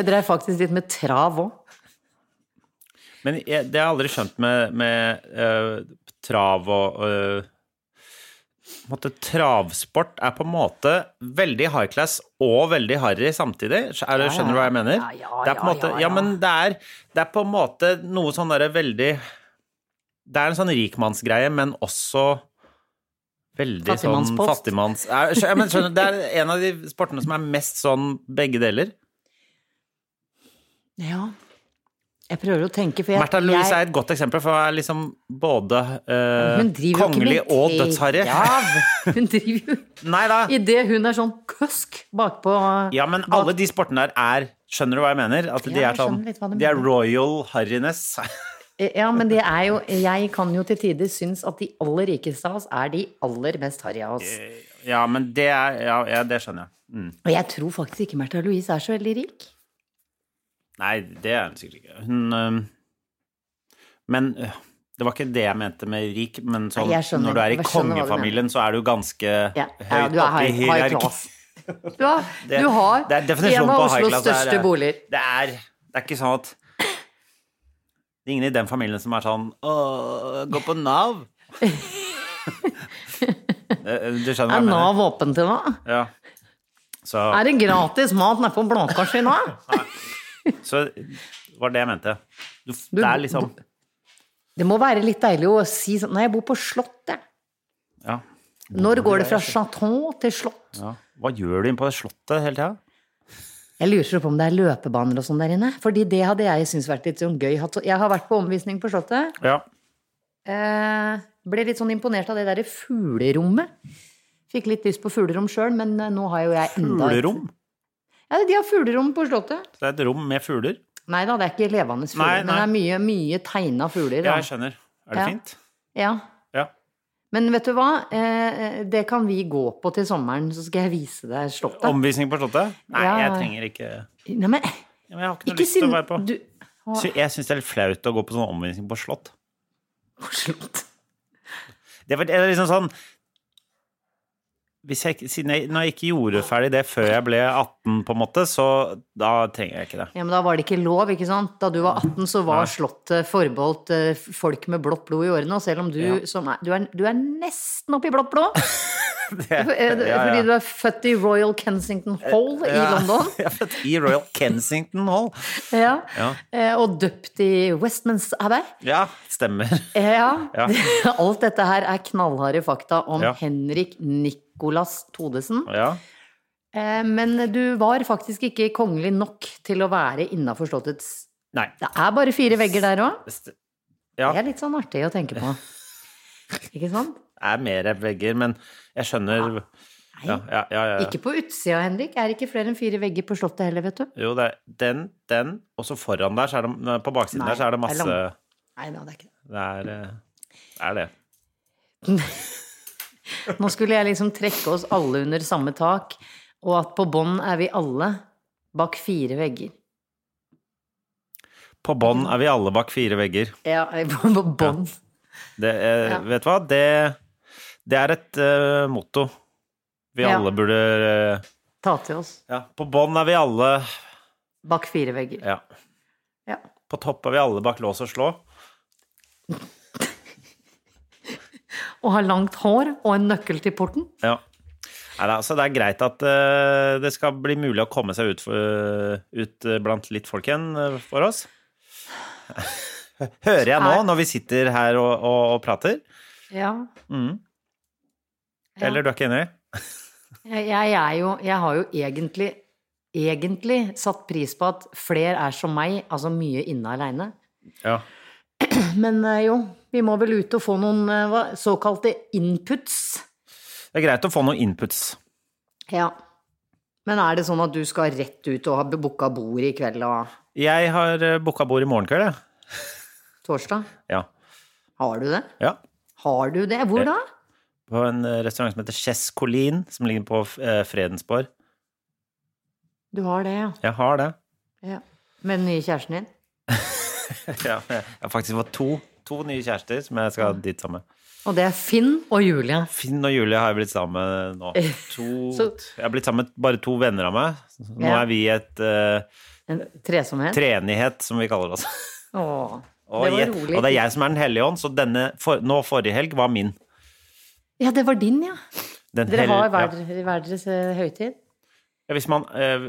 B: Jeg drev faktisk litt med trav òg.
A: Men jeg, det har jeg aldri skjønt med, med eh, trav og eh, på en måte, Travsport er på en måte veldig high class og veldig harry samtidig. Er det, skjønner du hva jeg mener?
B: Ja, ja,
A: det er på en
B: ja,
A: måte,
B: ja,
A: ja,
B: ja.
A: men det er, det er på en måte noe sånn derre veldig Det er en sånn rikmannsgreie, men også veldig sånn
B: Fattigmannspost.
A: fattigmanns... Er, skjø- ja, men skjønner, du, det er en av de sportene som er mest sånn begge deler.
B: Ja. Jeg prøver å tenke, for jeg
A: Märtha Louise
B: jeg-
A: er et godt eksempel, for hun er liksom både eh,
B: Hun driver jo ikke
A: kongelig
B: med
A: og
B: te-
A: dødsharry.
B: Ja, hun driver jo
A: Nei da.
B: Idet hun er sånn køsk bakpå
A: Ja, men alle de sportene der er Skjønner du hva jeg mener? At de
B: Ja,
A: er
B: jeg
A: sånn
B: skjønner litt hva du
A: De er
B: mener.
A: royal harryness.
B: Eh, Ja, men det er jo Jeg kan jo til tider synes at de aller rikeste av oss er de aller mest harry av oss.
A: Ja, men det er Ja, ja det skjønner jeg.
B: Og jeg tror faktisk ikke Märtha Louise er så veldig rik.
A: Nei, det er hun sikkert ikke. Hun øhm, Men øh, det var ikke det jeg mente med rik, men sånn
B: Nei, jeg skjønner.
A: når du er i
B: Jeg skjønner hva du
A: kongefamilien, så er du ganske
B: Ja, ja
A: høyt
B: du er
A: oppe i
B: high, high
A: hierarki.
B: class. Du har, du har
A: det er definisjonen
B: en av
A: på high
B: Oslos
A: class, det er-
B: største boliger.
A: Det er, det er ikke sånn at det er ingen i den familien som er sånn Å, gå på Nav. Eh, du skjønner hva
B: Er
A: jeg mener?
B: Nav åpen til nå?
A: Ja. Så,
B: Er det gratis mat nede på Blåkars i dag?
A: så var det jeg mente. Du, det er liksom
B: Det må være litt deilig å si sånn Nei, jeg bor på Slottet.
A: Ja.
B: Når går det fra Chaton til Slott?
A: ja. Hva gjør du inne på det slottet hele tida?
B: Jeg lurer så på om det er løpebaner og sånn der inne. Fordi det hadde jeg syntes vært litt sånn gøy. Hatt- Jeg har vært på omvisning på Slottet.
A: Ja.
B: Eh, ble litt sånn imponert av det derre fuglerommet. Fikk litt lyst på fuglerom sjøl, men eh, nå har jo jeg enda et-
A: Fuglerom?
B: Ja, de har fuglerom på Slottet.
A: Det er et rom med fugler?
B: Nei da, det er ikke levende fugler,
A: Nei, nei.
B: men det er mye, mye tegna fugler.
A: Ja,
B: Da.
A: jeg skjønner. Er det
B: Ja.
A: fint?
B: Ja.
A: Ja.
B: Men vet du hva? Eh, det kan vi gå på til sommeren, så skal jeg vise deg Slottet.
A: Omvisning på Slottet? Nei,
B: Ja.
A: jeg trenger ikke Ja,
B: Nei, men eh,
A: men Jeg har ikke noe
B: ikke
A: lyst til å
B: siden
A: være på
B: du Å,
A: Så jeg syns det er litt flaut å gå på sånn omvisning på slott.
B: Slott.
A: Det var det er liksom sånn hvis jeg, ikke- siden jeg, Når jeg ikke gjorde ferdig det før jeg ble 18, på en måte, så da trenger jeg ikke det.
B: Ja, men da var det ikke lov, ikke sant? Da du var 18, så var Slottet forbeholdt eh, folk med blått blod i årene. Og selv om du som er Du er, du er nesten oppi blått blod! For- eh,
A: Ja, ja.
B: Fordi du er født i Royal Kensington Hall i
A: Ja.
B: London.
A: Jeg er født i Royal Kensington Hall.
B: Ja.
A: Ja.
B: Eh, Og døpt i Westminster Abbey.
A: Ja, stemmer.
B: Eh, Ja.
A: Ja.
B: Alt dette her er knallharde fakta om
A: Ja.
B: Henrik Nicolas Todesen.
A: Ja.
B: Eh, Men du var faktisk ikke kongelig nok til å være innafor Slottets
A: Nei.
B: Det er bare fire vegger der òg.
A: Det
B: Det
A: Ja.
B: er litt sånn artig å tenke på. Ikke sant?
A: er mer vegger, men jeg skjønner Ja, ja, ja. ja, ja.
B: Ah, Ikke på utsida, Henrik. Er ikke flere enn fire vegger på Slottet heller, vet du.
A: Jo, det er den, den, og så foran der, så er det, nei, på baksiden
B: Nei,
A: der, så er det
B: det er
A: masse
B: lang-
A: Det
B: Nei da, det er ikke det.
A: er, eh, det er det.
B: Nå skulle jeg liksom trekke oss alle under samme tak, og at på bånn er vi alle bak fire vegger.
A: På bånn er vi alle bak fire vegger.
B: Ja, på på bånn.
A: Det er,
B: Ja.
A: Vet du hva? Det, det er et eh, motto vi
B: Ja.
A: alle burde eh,
B: Ta til oss.
A: Ja, på bånn er vi alle
B: Bak fire vegger.
A: Ja.
B: Ja.
A: På topp er vi alle bak lås og slå.
B: Og har langt hår og en nøkkel til porten.
A: Ja. Nei, da, så det er greit at eh, det skal bli mulig å komme seg ut, for, ut eh, blant litt folk igjen eh, for oss. Hører jeg nå,
B: Er-
A: når vi sitter her og, og, og prater?
B: Ja. Ja.
A: Eller du er ikke enig?
B: Jeg, jeg, er jo, jeg har jo egentlig, egentlig satt pris på at fler er som meg, altså mye inne aleine.
A: Ja.
B: Men eh, jo, vi må vel ut og få noen eh, hva, såkalte inputs.
A: Det er greit å få noen inputs.
B: Ja. Men er det sånn at du skal rett ut og ha booka bord i kveld og
A: Jeg har eh, booka bord i morgen kveld, jeg.
B: torsdag?
A: Ja.
B: Har du det?
A: ja.
B: Har du det? Hvor da?
A: På en eh, restaurant som heter Chess Colin, som ligger på eh, Fredensborg.
B: Du har det, ja.
A: Jeg har det.
B: ja. Med den nye kjæresten din?
A: Ja, jeg har faktisk fått to, to nye kjærester som jeg skal dit sammen med.
B: Og det er Finn og Julie.
A: Finn og Julie har jeg blitt sammen med nå. To,
B: Så-
A: jeg har blitt sammen med bare to venner av meg. Nå
B: Ja.
A: er vi et eh,
B: En tresomhet.
A: treenighet, som vi kaller oss.
B: Åh,
A: Og,
B: det var
A: jeg,
B: rolig.
A: og det er jeg som er Den hellige ånd, så denne for, nå forrige helg var min.
B: Ja, det var din, ja.
A: Den
B: Dere
A: hel-
B: har
A: ja.
B: hver, hver deres eh, høytid.
A: Ja, hvis man, eh,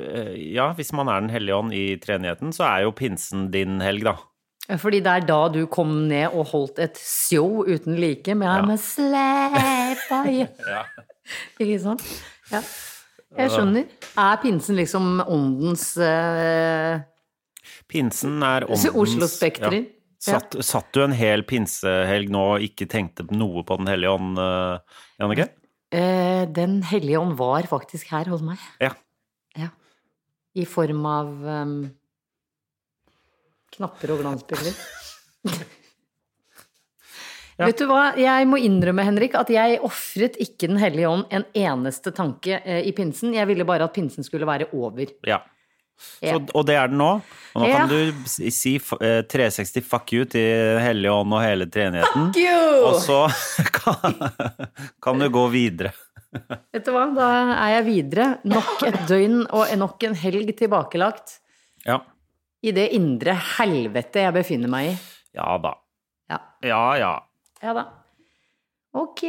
A: ja, hvis man er Den hellige ånd i treenigheten, så er jo pinsen din helg, da.
B: Fordi det er da du kom ned og holdt et show uten like med I'm a slave boy. Ikke sant? Ja. Jeg skjønner. Er pinsen liksom åndens eh,
A: Pinsen er åndens
B: Så Oslo Spektrum.
A: Ja. Satt, satt du en hel pinsehelg nå og ikke tenkte noe på Den hellige ånd, eh, Jannicke?
B: eh, Den hellige ånd var faktisk her hos meg.
A: Ja.
B: Ja. I form av eh, knapper og glansbilder. Vet du hva, jeg må innrømme, Henrik, at jeg ofret ikke Den hellige ånd en eneste tanke eh, i pinsen. Jeg ville bare at pinsen skulle være over.
A: ja.
B: Ja.
A: Så, og det er den nå. Og nå
B: Ja.
A: kan du s- si f- eh, 360 fuck you til Hellige Ånd og hele treenigheten.
B: you!
A: Og så kan, kan du gå videre.
B: Vet du hva, da er jeg videre. Nok et døgn og nok en helg tilbakelagt
A: Ja.
B: i det indre helvete jeg befinner meg i.
A: ja da.
B: Ja,
A: Ja ja.
B: ja da. Ok,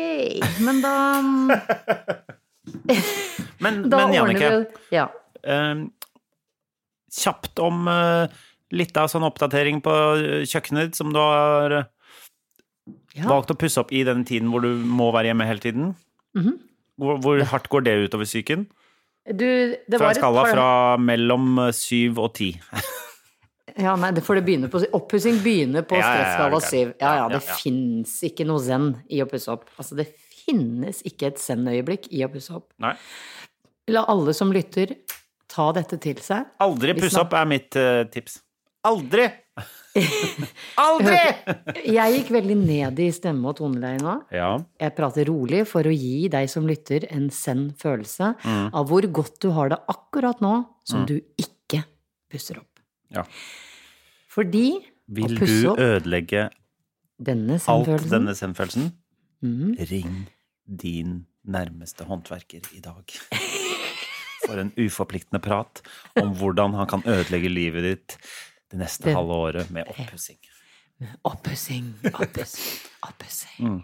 B: men da
A: Men,
B: Da
A: men
B: ordner
A: Jannicke,
B: vi Ja.
A: eh, kjapt om eh, litt av sånn oppdatering på eh, kjøkkenet som du har eh,
B: Ja.
A: valgt å pusse opp i den tiden hvor du må være hjemme hele tiden.
B: Mhm.
A: Hvor, hvor hardt går det utover psyken?
B: Du, det
A: Fra
B: var
A: en skala
B: et par
A: fra mellom eh, syv og ti.
B: Ja, nei, det- for det begynner på Oppussing begynner
A: Ja,
B: på
A: ja, ja,
B: stressskala
A: ok.
B: 7. Ja, ja,
A: Ja,
B: det
A: ja, ja.
B: fins ikke noe zen i å pusse opp. Altså, det finnes ikke et zen-øyeblikk i å pusse opp.
A: Nei.
B: La alle som lytter, ta dette til seg.
A: Aldri
B: Vi
A: pusse
B: snak-
A: opp er mitt eh, tips. Aldri! Aldri!
B: Jeg gikk veldig ned i stemme og toneleie nå.
A: Ja.
B: Jeg prater rolig for å gi deg som lytter en zen følelse
A: Mm.
B: av hvor godt du har det akkurat nå som du ikke pusser opp.
A: Ja.
B: Fordi
A: Vil
B: å pusse
A: du
B: opp
A: ødelegge
B: denne
A: alt
B: zen-følelsen
A: denne zen-følelsen?
B: Mhm.
A: Ring din nærmeste håndverker i dag. For en uforpliktende prat om hvordan han kan ødelegge livet ditt det neste halve året med
B: Eh,
A: oppussing.
B: Oppussing, oppussing, oppussing.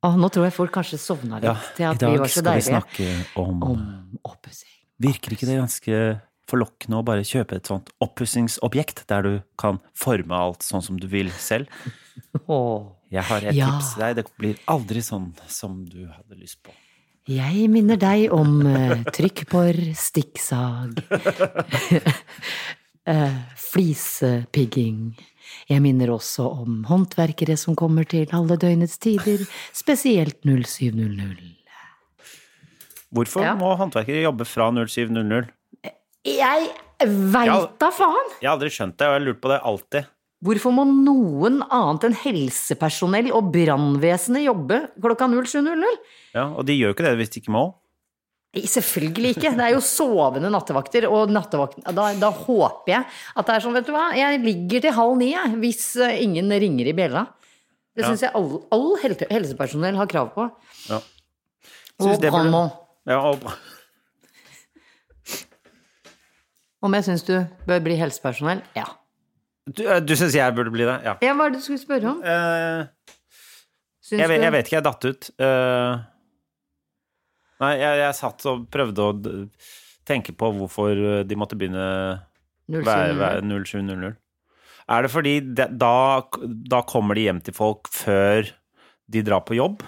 B: Å, nå tror jeg folk kanskje sovna litt
A: Mm. Ja,
B: til
A: i
B: at vi
A: dag
B: var så
A: skal vi
B: deilige.
A: snakke om,
B: Om oppussing.
A: Virker ikke det ganske forlokkende å bare kjøpe et sånt oppussingsobjekt, der du kan forme alt sånn som du vil selv?
B: Åh.
A: Jeg har et
B: Ja.
A: tips til deg. Det blir aldri sånn som du hadde lyst på.
B: Jeg minner deg om eh, trykkbor, stikksag, eh, flisepigging. Jeg minner også om håndverkere som kommer til alle døgnets tider, spesielt 0700.
A: Hvorfor
B: Ja.
A: må håndverkere jobbe fra 07.00?
B: Jeg
A: Ja.
B: veit da faen!
A: Jeg har aldri skjønt det, og jeg har lurt på det alltid.
B: Hvorfor må noen annet enn helsepersonell og brannvesenet jobbe klokka 07.00?
A: Ja, og de gjør jo ikke det hvis de ikke må.
B: Nei, Selvfølgelig ikke. Det er jo sovende nattevakter, og nattevakten da, da håper jeg at det er sånn, vet du hva, jeg ligger til halv ni, jeg, hvis eh, ingen ringer i bjella. Det syns jeg all, all hel- helsepersonell har krav på.
A: Ja. Synes
B: Og
A: det burde-
B: brannmann.
A: Ja, og,
B: Om jeg syns du bør bli helsepersonell? Ja.
A: du eh, du syns jeg burde bli det? Ja.
B: ja. Hva er det du skulle spørre om?
A: Eh,
B: Syns
A: jeg, vet-
B: du-
A: jeg vet ikke, jeg datt ut. Eh, nei, jeg, jeg satt og prøvde å d- tenke på hvorfor eh, de måtte begynne
B: Null
A: Være-
B: syv null.
A: være 0700. Er det fordi det, da, da kommer de hjem til folk før de drar på jobb?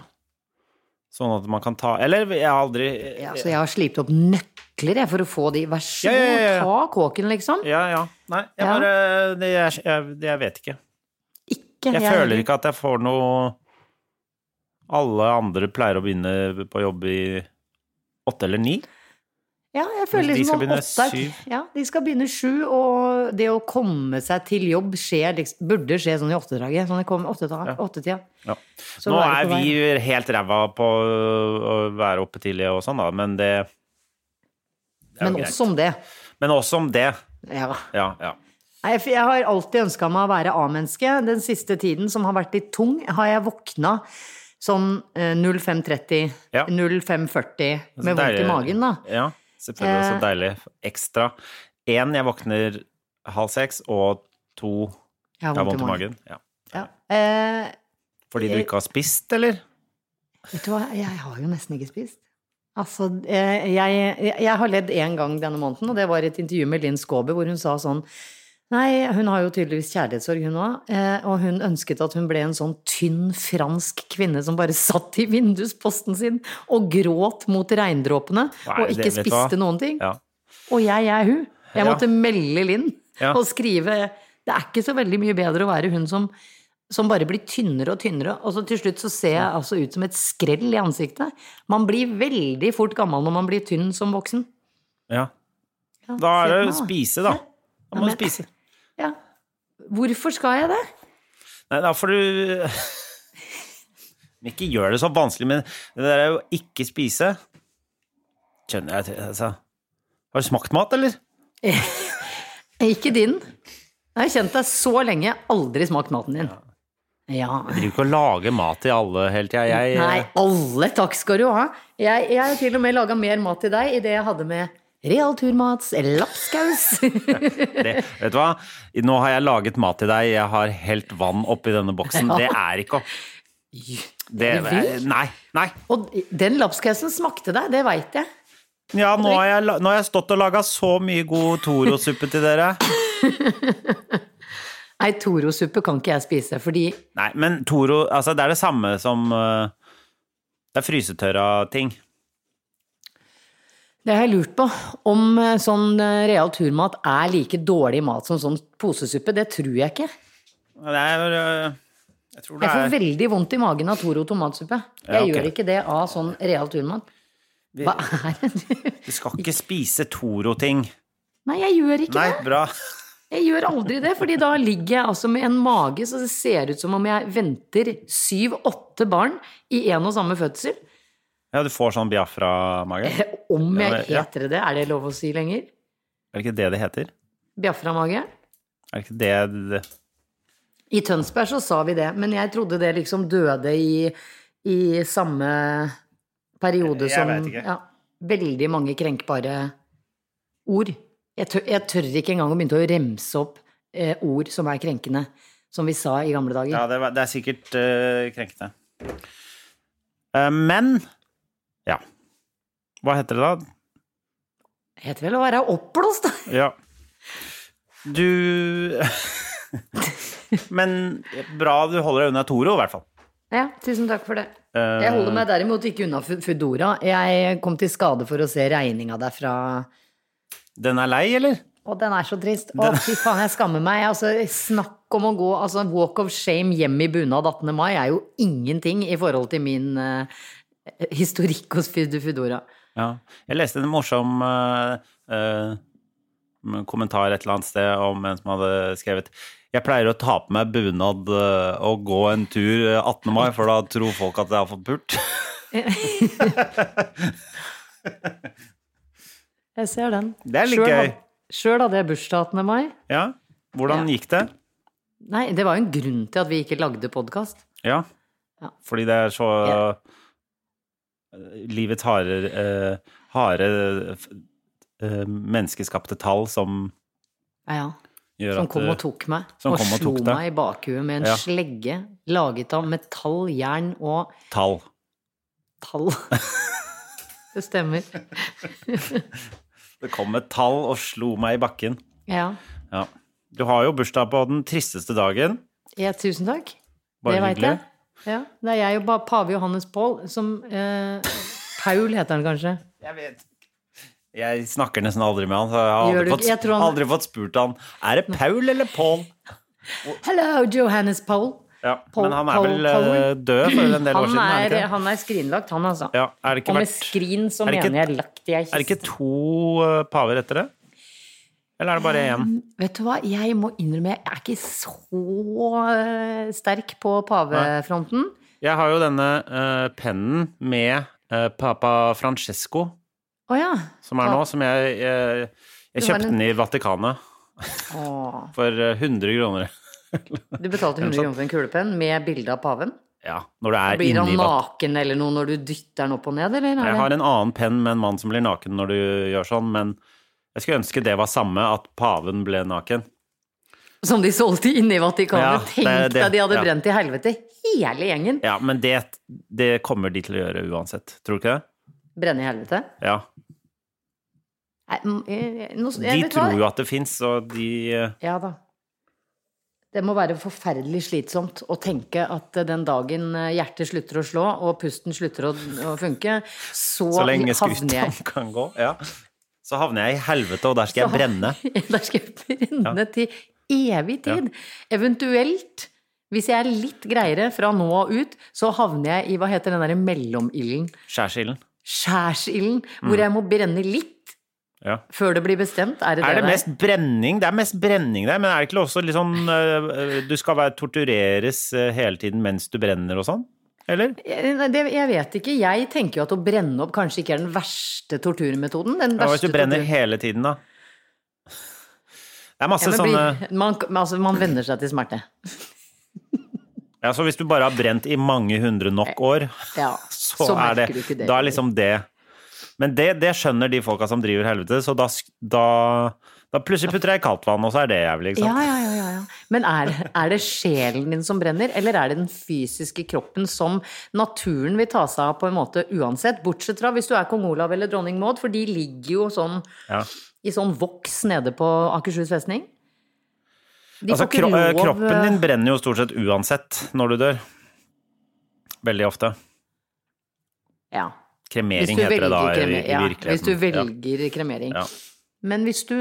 A: Sånn at man kan ta Eller jeg har aldri
B: Ja, så jeg har slipt opp nøkler jeg, for å få de. Vær så
A: Ja, ja, ja,
B: god,
A: ja.
B: ta kåken, liksom.
A: Ja, ja. Nei, jeg
B: Ja.
A: bare det, jeg, jeg, jeg vet ikke.
B: ikke.
A: Jeg føler ikke at jeg får noe Alle andre pleier å begynne på jobb i åtte eller ni.
B: Ja, jeg
A: De
B: føler liksom
A: skal
B: at
A: begynne
B: åtte er-
A: syv.
B: Ja, de skal begynne sju, og det å komme seg til jobb skjer, liksom, burde skje sånn i åttedraget. Sånn i kom- åtteta- åttetida.
A: Ja.
B: Så
A: Nå
B: være
A: er
B: på
A: vi helt ræva på å være oppe tidlig og sånn, da, men det, det er jo
B: Men
A: greit.
B: også om det.
A: Men også om det.
B: Ja.
A: Ja, ja.
B: Nei, for jeg har alltid ønska meg å være A-menneske. Den siste tiden, som har vært litt tung, har jeg våkna sånn eh, 05.30,
A: Ja.
B: 05.40,
A: Så
B: med vondt
A: deilig-
B: i magen, da.
A: Ja, selvfølgelig. Så
B: Eh.
A: deilig. Ekstra. Én, jeg våkner halv seks, og to,
B: Jeg
A: jeg har vondt i magen. Ja.
B: Ja. Eh,
A: Fordi du ikke har spist, eller?
B: vet du hva, jeg har jo nesten ikke spist. Altså, eh, jeg, jeg, jeg har ledd én gang denne måneden, og det var et intervju med Linn Skåber, hvor hun sa sånn Nei, hun har jo tydeligvis kjærlighetssorg, hun òg. eh, Og hun ønsket at hun ble en sånn tynn fransk kvinne som bare satt i vindusposten sin og gråt mot regndråpene
A: Nei,
B: og ikke
A: det- vet du hva?
B: spiste noen ting.
A: Ja.
B: Og jeg er hun.
A: Ja.
B: Jeg måtte melde Linn
A: Ja.
B: og skrive Det er ikke så veldig mye bedre å være hun som, som bare blir tynnere og tynnere, og så til slutt så ser jeg altså ut som et skrell i ansiktet. Man blir veldig fort gammel når man blir tynn som voksen.
A: ja. Da
B: Ja, se
A: er det
B: på meg,
A: å spise, da. Da må
B: men-
A: du spise.
B: Ja. Hvorfor skal jeg det?
A: Nei, da får du Men Ikke gjør det så vanskelig, men det der er jo ikke spise. Skjønner jeg altså. Har du smakt mat, eller?
B: Ikke din. Jeg har kjent deg så lenge, jeg har aldri smakt maten din. Ja.
A: Jeg driver ikke og lager mat til alle hele tida. Jeg
B: Nei, alle takk skal du ha. Jeg, jeg har til og med laga mer mat til deg i det jeg hadde med realturmats lapskaus.
A: det, Vet du hva? Nå har jeg laget mat til deg, jeg har helt vann oppi denne boksen. Det er ikke å det,
B: Er du vill?
A: Nei. Nei.
B: Og den lapskausen smakte deg, det veit jeg.
A: Ja, nå har jeg, la- nå har jeg stått og laga så mye god Toro-suppe til dere.
B: Nei, Toro-suppe kan ikke jeg spise, fordi
A: Nei, men Toro Altså, det er det samme som eh, Det er frysetørra ting.
B: det har jeg lurt på. Om eh, sånn eh, real turmat er like dårlig mat som sånn posesuppe, det tror jeg ikke.
A: Det er øh, Jeg tror det
B: Jeg får
A: er
B: veldig vondt i magen av Toro tomatsuppe. Jeg
A: Ja, ok.
B: gjør ikke det av sånn real turmat. Hva er det?
A: Du skal ikke spise Toro-ting.
B: Nei, jeg gjør ikke
A: Nei,
B: det.
A: bra.
B: Jeg gjør aldri det, fordi da ligger jeg altså med en mage så det ser ut som om jeg venter syv-åtte barn i en og samme fødsel. Eh,
A: Ja, du får sånn Biafra-mage. Er
B: Om
A: Ja,
B: jeg
A: men- ja.
B: heter det det, er det lov å si lenger?
A: det ikke det det heter?
B: Biafra-mage?
A: Er det ikke det det
B: I Tønsberg så sa vi det, men jeg trodde det liksom døde i, i samme periode
A: Jeg
B: som
A: vet ikke.
B: Ja, veldig mange krenkbare ord. Jeg tør, jeg tør ikke engang å begynne å remse opp eh, ord som er krenkende, som vi sa i gamle dager.
A: Ja, det, var- det er sikkert øh, krenkende. Eh, men Ja. Hva heter det da?
B: Det Heter vel å være oppblåst, da.
A: Ja. Du Men bra du holder deg unna Toro, i hvert fall.
B: Ja, tusen takk for det.
A: Eh,
B: Jeg holder meg derimot ikke unna Fu- Foodora. Jeg kom til skade for å se regninga derfra.
A: Den er lei, eller?
B: Og den er så trist. Å, fy faen, jeg skammer meg. Altså, snakk om å gå altså, walk of shame hjem i bunad 18. mai er jo ingenting i forhold til min eh, historikk hos Fud- Foodora.
A: Ja. Jeg leste en morsom eh, eh, kommentar et eller annet sted om en som hadde skrevet Jeg pleier å ta på meg bunad eh, og gå en tur eh, 18. mai, for da tror folk at jeg har fått pult.
B: Jeg ser den.
A: Det er litt
B: Selv
A: gøy.
B: had- Sjøl hadde jeg bursdag 18. mai.
A: Ja. Hvordan gikk det?
B: Nei, det var jo en grunn til at vi ikke lagde podkast.
A: Ja.
B: Ja.
A: Fordi det er så eh, Livets harde eh, harde eh, menneskeskapte tall som
B: Ja, ja.
A: gjør
B: Som
A: at
B: kom
A: eh,
B: og tok meg.
A: som
B: og
A: kom og
B: slo
A: tok deg.
B: meg i bakhuet med en
A: Ja.
B: slegge laget av metall, jern og
A: Tall.
B: tall. det stemmer.
A: Det kom et tall og slo meg i bakken.
B: Ja.
A: Ja. Du har jo bursdag på den tristeste dagen.
B: Ja, tusen takk.
A: Bare
B: det veit
A: hyggelig.
B: jeg. Ja, det er jeg og ba- pave Johannes Paul som eh, Paul heter han kanskje.
A: Jeg vet Jeg snakker nesten aldri med han, så jeg har
B: Gjør
A: aldri,
B: du ikke?
A: fått,
B: Jeg tror han-
A: aldri fått spurt han Er det Paul eller Paul.
B: Hello, Johannes Paul.
A: Ja,
B: Pol-
A: men han er
B: Pol-
A: vel
B: Polman.
A: eh, død for en del år
B: Han
A: siden? er
B: er,
A: det ikke?
B: han er skrinlagt, han altså.
A: Ja, er det ikke
B: og med
A: vært-
B: skrin så
A: er det ikke-
B: mener jeg lagt jeg
A: Er det ikke
B: kiste.
A: to eh, paver etter det? Eller er det bare én?
B: Vet du hva, jeg må innrømme, jeg er ikke så eh, sterk på pavefronten.
A: Jeg har jo denne eh, pennen med eh, papa Francesco,
B: Å ja.
A: som er nå, som jeg, eh, jeg
B: Du har
A: kjøpte
B: en-
A: den i Vatikanet
B: Åh.
A: for eh, 100 kroner.
B: Du betalte 100 kroner for en kulepenn med bilde av paven?
A: Ja, når du er
B: Blir han
A: inni Vatikanet.
B: naken eller noe når du dytter den opp og ned, eller?
A: Jeg
B: Er
A: har
B: det?
A: en annen penn med en mann som blir naken når du gjør sånn, men jeg skulle ønske det var samme, at paven ble naken.
B: Som de solgte inne i Vatikanet.
A: Ja, det er
B: Tenk deg
A: det,
B: de hadde
A: ja.
B: brent til helvete, hele gjengen.
A: Ja, men det, det kommer de til å gjøre uansett, tror du ikke det?
B: Brenne i helvete.
A: Ja.
B: Nei, mm, eh, nå-
A: De
B: jeg vet hva.
A: tror jo at det fins, og de eh,
B: Ja da. Det må være forferdelig slitsomt å tenke at eh, den dagen eh, hjertet slutter å slå og pusten slutter å, å funke, så,
A: Så lenge
B: havner jeg
A: skuta kan gå, ja. Så havner jeg i helvete, og der skal jeg brenne.
B: Der skal jeg brenne til evig tid. Eventuelt, hvis jeg er litt greiere fra nå og ut, så havner jeg i hva heter den derre mellomilden?
A: Skjærsilden.
B: Skjærsilden, hvor jeg må brenne litt
A: Mm. Ja.
B: før det blir bestemt. Er det
A: Er
B: det
A: det mest brenning? Det er mest brenning der, men er det ikke også litt sånn eh, eh, Du skal være, tortureres eh, hele tiden mens du brenner og sånn? Eller?
B: Jeg, nei, det, jeg vet ikke. Jeg tenker jo at å brenne opp kanskje ikke er den verste torturmetoden. Den
A: Ja,
B: verste
A: hvis du brenner
B: torturen-
A: hele tiden, da? Det er masse
B: ja, men
A: sånne
B: blir- man, men altså, man venner seg til smerte.
A: Ja, så hvis du bare har brent i mange hundre nok år,
B: Ja,
A: så, er
B: Eh, merker
A: det,
B: du ikke
A: Da er liksom det Men det, det skjønner de folka som driver helvete, så da, sk- da, da plutselig putter jeg i kaldt vann, og så er det jævlig, ikke
B: Ja,
A: sant?
B: ja, ja, ja, ja. Men er, det- er det sjelen din som brenner, eller er det den fysiske kroppen som naturen vil ta seg av på en måte uansett? Bortsett fra hvis du er kong Olav eller dronning Maud, for de ligger jo sånn
A: Ja.
B: i sånn voks nede på Akershus festning. De
A: Altså,
B: får ikke
A: kro eh,
B: lov,
A: kroppen
B: eh,
A: din brenner jo stort sett uansett når du dør. Veldig ofte.
B: eh, ja. Hvis
A: Kremering
B: du
A: heter det da
B: velger
A: i,
B: kreme-
A: i
B: ja,
A: virkeligheten.
B: Hvis du
A: Ja.
B: velger kremering.
A: Ja.
B: Men hvis du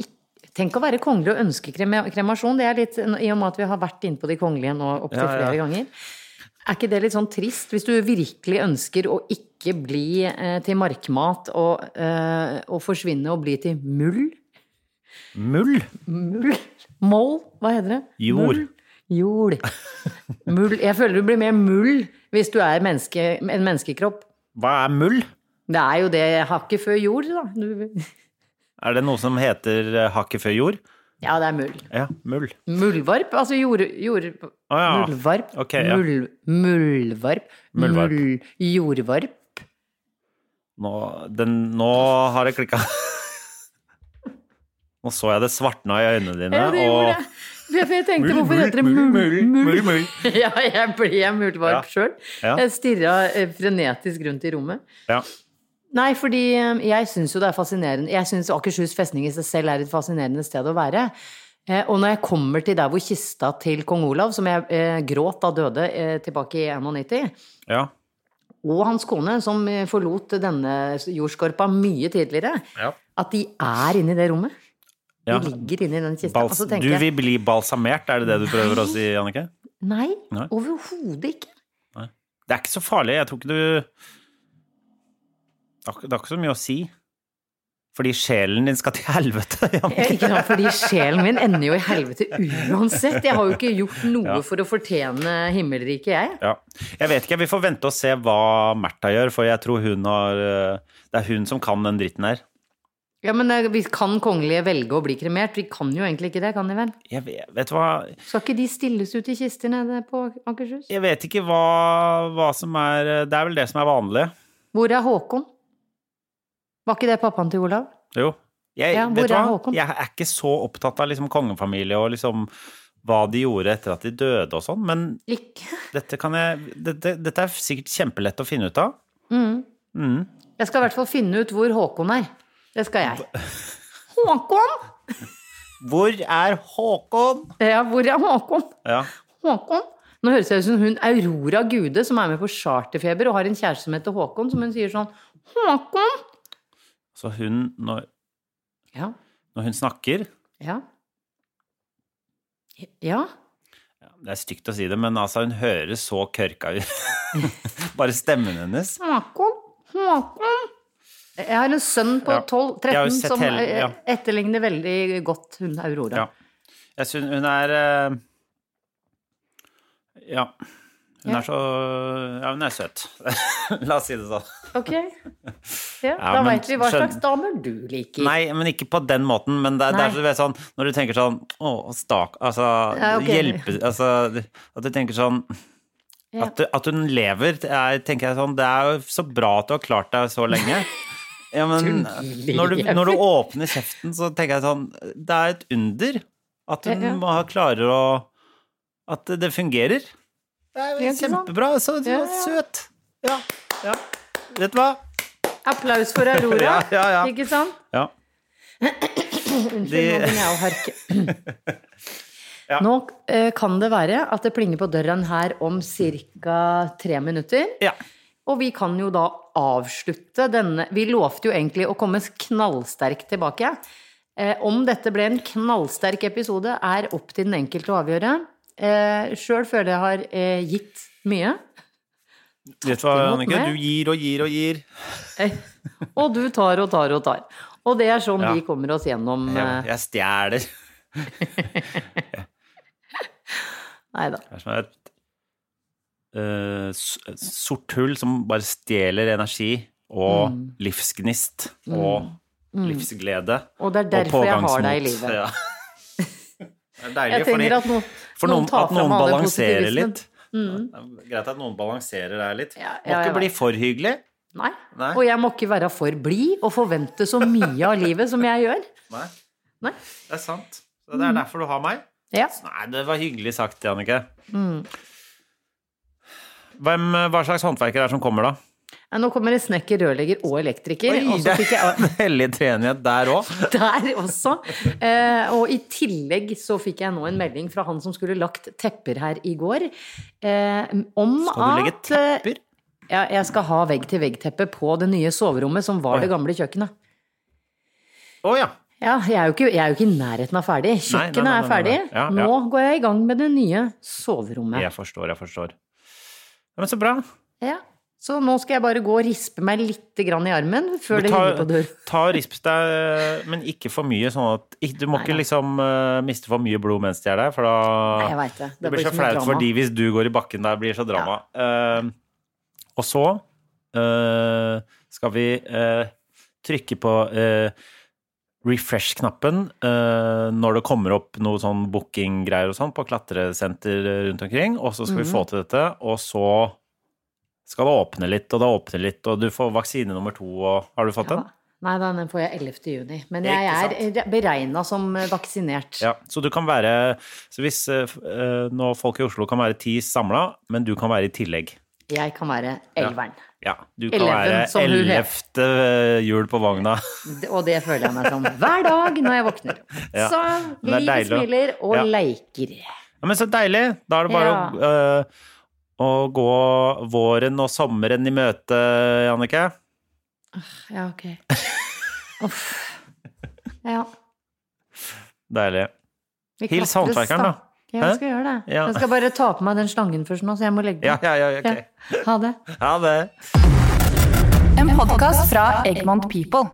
B: ikk- Tenk å være kongelig og ønske kreme- kremasjon. Det er litt, I og med at vi har vært inne på de kongelige nå opptil
A: Ja, ja.
B: flere ganger. Er ikke det litt sånn trist? Hvis du virkelig ønsker å ikke bli eh, til markmat og, eh, og forsvinne og bli til mull?
A: Mull?
B: Mull? Moll? Hva heter det?
A: Jord.
B: Mull? Jord. Mull. Jeg føler du blir mer mull hvis du er menneske, en menneskekropp.
A: Hva er mull?
B: Det er jo det hakket før jord, da. Du,
A: Er det noe som heter eh, hakket før jord?
B: ja, det er mull.
A: Ja, mull.
B: Muldvarp? Altså jord... jord
A: Å ja.
B: Muldvarp?
A: Ok, ja.
B: Mul, muldvarp?
A: Muldvarp.
B: Mul, jordvarp?
A: Nå, den, nå har det klikka. Nå så jeg det svartna i øynene dine,
B: Ja, det gjorde jeg. For jeg tenkte, hvorfor heter det mul... mul,
A: mull, mull.
B: Ja, jeg ble
A: Ja.
B: muldvarp sjøl.
A: Ja.
B: Jeg stirra eh, frenetisk rundt i rommet.
A: Ja.
B: Nei, fordi eh, jeg syns jo det er fascinerende. Jeg syns Akershus festning i seg selv er et fascinerende sted å være. Eh, Og når jeg kommer til der hvor kista til kong Olav, som jeg eh, gråt da døde eh, tilbake i 91,
A: Ja.
B: og hans kone, som eh, forlot denne jordskorpa mye tidligere,
A: Ja.
B: at de er inne i det rommet. De
A: Ja.
B: ligger inne i den kista.
A: Bals
B: Og så
A: du
B: Altså, tenker jeg
A: vil bli balsamert, er det det du prøver å si, Jannicke?
B: nei,
A: Nei.
B: overhodet ikke.
A: Det er ikke så farlig. Jeg tror ikke du Det er ikke- det er ikke så mye å si. Fordi sjelen din skal til helvete, Jannicke.
B: Ikke sant, fordi sjelen min ender jo i helvete uansett. Jeg har jo ikke gjort noe for å fortjene himmelriket, jeg.
A: Ja. Jeg vet ikke, vi får vente og se hva Märtha gjør, for jeg tror hun har eh, Det er hun som kan den dritten her.
B: Ja, men eh, vi kan kongelige velge å bli kremert? Vi kan jo egentlig ikke det, kan de vel?
A: Jeg vet, vet du hva
B: Skal ikke de stilles ut i kister nede på Akershus?
A: Jeg vet ikke hva, hva som er Det er vel det som er vanlig.
B: Hvor er Håkon? Var ikke det pappaen til Olav?
A: Jo. Jeg,
B: Ja, hvor
A: vet du
B: er
A: hva?
B: Håkon?
A: Jeg er ikke så opptatt av liksom kongefamilie og liksom hva de gjorde etter at de døde og sånn, men
B: Ikke.
A: dette, kan jeg, dette, dette er sikkert kjempelett å finne ut av.
B: Jeg skal i hvert fall finne ut hvor Håkon er. Det skal jeg. Håkon?
A: Hvor er Håkon?
B: Ja, hvor er Håkon?
A: Ja.
B: Håkon? Nå høres jeg ut som hun Aurora Gude som er med på Charterfeber og har en kjæreste som heter Håkon, som hun sier sånn Håkon?
A: Så hun, når,
B: Ja.
A: når hun snakker
B: Ja. Ja.
A: det er stygt å si det, men altså, hun høres så kørka ut. Bare stemmen hennes.
B: Håkon, Håkon. Jeg har en sønn på
A: Ja.
B: 12-13
A: Jeg har jo sett
B: som
A: hele-
B: eh,
A: ja.
B: etterligner veldig godt hun Aurora.
A: Ja. Jeg syns hun er eh, Ja. Hun
B: Ja.
A: er så Ja, hun er søt. La oss si det sånn.
B: Ok. Ja,
A: Ja,
B: da
A: men
B: veit vi hva
A: skjøn-
B: slags damer du liker.
A: Nei, men ikke på den måten. Men det, er- det er
B: Nei.
A: så- du vet sånn Når du tenker sånn Å, stak Altså,
B: Ja, ok.
A: hjelpe Altså, at du tenker sånn
B: Ja.
A: At, du, at hun lever, det er, tenker jeg sånn Det er jo så bra at du har klart deg så lenge. Ja, men når du, når du åpner kjeften, så tenker jeg sånn Det er et under at hun
B: Ja, ja.
A: må ha klarer å At det fungerer. Det er
B: Ja,
A: jo
B: ikke sant?
A: kjempebra. Så du
B: Ja,
A: var
B: ja.
A: søt. Ja. ja. Vet du hva?
B: Applaus for Aurora,
A: Ja, ja, ja.
B: ikke sant?
A: Ja.
B: Unnskyld,
A: De-
B: nå begynner jeg å harke.
A: Ja.
B: Nå eh, kan det være at det plinger på døren her om ca. tre minutter.
A: Ja.
B: Og vi kan jo da avslutte denne Vi lovte jo egentlig å komme knallsterkt tilbake. Eh, om dette ble en knallsterk episode, er opp til den enkelte å avgjøre. Eh, Sjøl føler jeg har eh, gitt mye.
A: Vet du hva,
B: imot
A: Annike?
B: meg.
A: Du gir og gir og gir.
B: Eh, og du tar og tar og tar. Og det er sånn
A: Ja.
B: vi kommer oss gjennom.
A: Jeg,
B: Eh,
A: jeg stjeler.
B: nei da.
A: Det er som et eh, s- et sort hull som bare stjeler energi og
B: Mm.
A: livsgnist og livsglede.
B: Og det er derfor jeg har deg
A: pågangsmot.
B: i livet.
A: Ja. Det er deilig,
B: Jeg trenger
A: fordi-
B: at noen,
A: for noen,
B: tar
A: at noen
B: fram all den
A: balanserer
B: positivismen.
A: litt. Det er Greit at noen balanserer deg litt.
B: Ja,
A: Må
B: ja, jeg
A: ikke bli
B: vet.
A: for hyggelig.
B: Nei.
A: Nei.
B: Og jeg må ikke være for blid og forvente så mye av livet som jeg gjør.
A: Nei,
B: Nei.
A: det er sant. Så Det er
B: Mm.
A: derfor du har meg.
B: Ja.
A: Nei, det var hyggelig sagt, Jannicke. Hvem, hva slags håndverker er det som kommer, da?
B: Nei, Nå kommer det snekker, rørlegger og elektriker.
A: Oi,
B: og så
A: det
B: fikk jeg
A: er en hellig treenighet der òg.
B: der også. Eh, og i tillegg så fikk jeg nå en melding fra han som skulle lagt tepper her i går. Eh, om
A: Skal du legge
B: at eh,
A: tepper?
B: Ja, jeg skal ha vegg-til-vegg-teppe på det nye soverommet som var
A: Oi.
B: det gamle kjøkkenet.
A: Å ja.
B: Ja, jeg er, jo ikke, jeg er jo ikke i nærheten av ferdig.
A: Nei, nei,
B: Kjøkkenet
A: nei,
B: er
A: nei,
B: ferdig.
A: nei. Ja, ja.
B: Nå går jeg i gang med det nye soverommet.
A: Jeg forstår, jeg forstår. Ja, Men så bra.
B: Ja. Så nå skal jeg bare gå og rispe meg litt grann i armen før
A: Du
B: det
A: tar-
B: ringer på dør.
A: Ta og risp deg, men ikke for mye, sånn at ikke- Du må
B: Nei,
A: ikke
B: nei.
A: liksom eh, miste for mye blod mens de er der, for
B: Nei,
A: da
B: jeg vet det.
A: Det blir så
B: så mye
A: flaut for
B: drama.
A: de hvis du går i bakken der, blir så drama. Eh, og så eh, skal vi eh, trykke på eh, refresh-knappen eh, når det kommer opp noe sånn booking-greier og sånn på klatresenter eh, rundt omkring, og så skal vi få til dette, og så skal det åpne litt, og det åpner litt, og du får vaksine nummer to, og har du fått den?
B: Nei, da, den får jeg 11. juni. Men
A: Ikke
B: jeg er beregna som eh, vaksinert.
A: Ja, så du kan være Så hvis eh, f- eh, nå folk i Oslo kan være ti samla, men du kan være i tillegg.
B: Jeg kan være elveren.
A: Ja, du kan
B: Eleven, som hun
A: være
B: het.
A: ellevte eh, hjul på vogna.
B: Det- Og det føler jeg meg som hver dag når jeg våkner.
A: Ja,
B: Så
A: men det er
B: livet
A: deilig å-
B: smiler og
A: Ja.
B: leiker.
A: Ja, men så deilig! Da er det bare å, eh, å gå våren og sommeren i møte, Jannicke.
B: Ja, ok. Uff. Ja.
A: Deilig.
B: vi
A: Hils
B: klatres,
A: håndverkeren, da.
B: Ja,
A: Hæ?
B: jeg skal gjøre det.
A: Ja.
B: Jeg skal bare ta på meg den slangen først nå, så jeg må legge
A: Ja,
B: den.
A: ja, ja, ok.
B: Ja. Ha det.
A: Ha det.
F: En podkast fra Egmont People.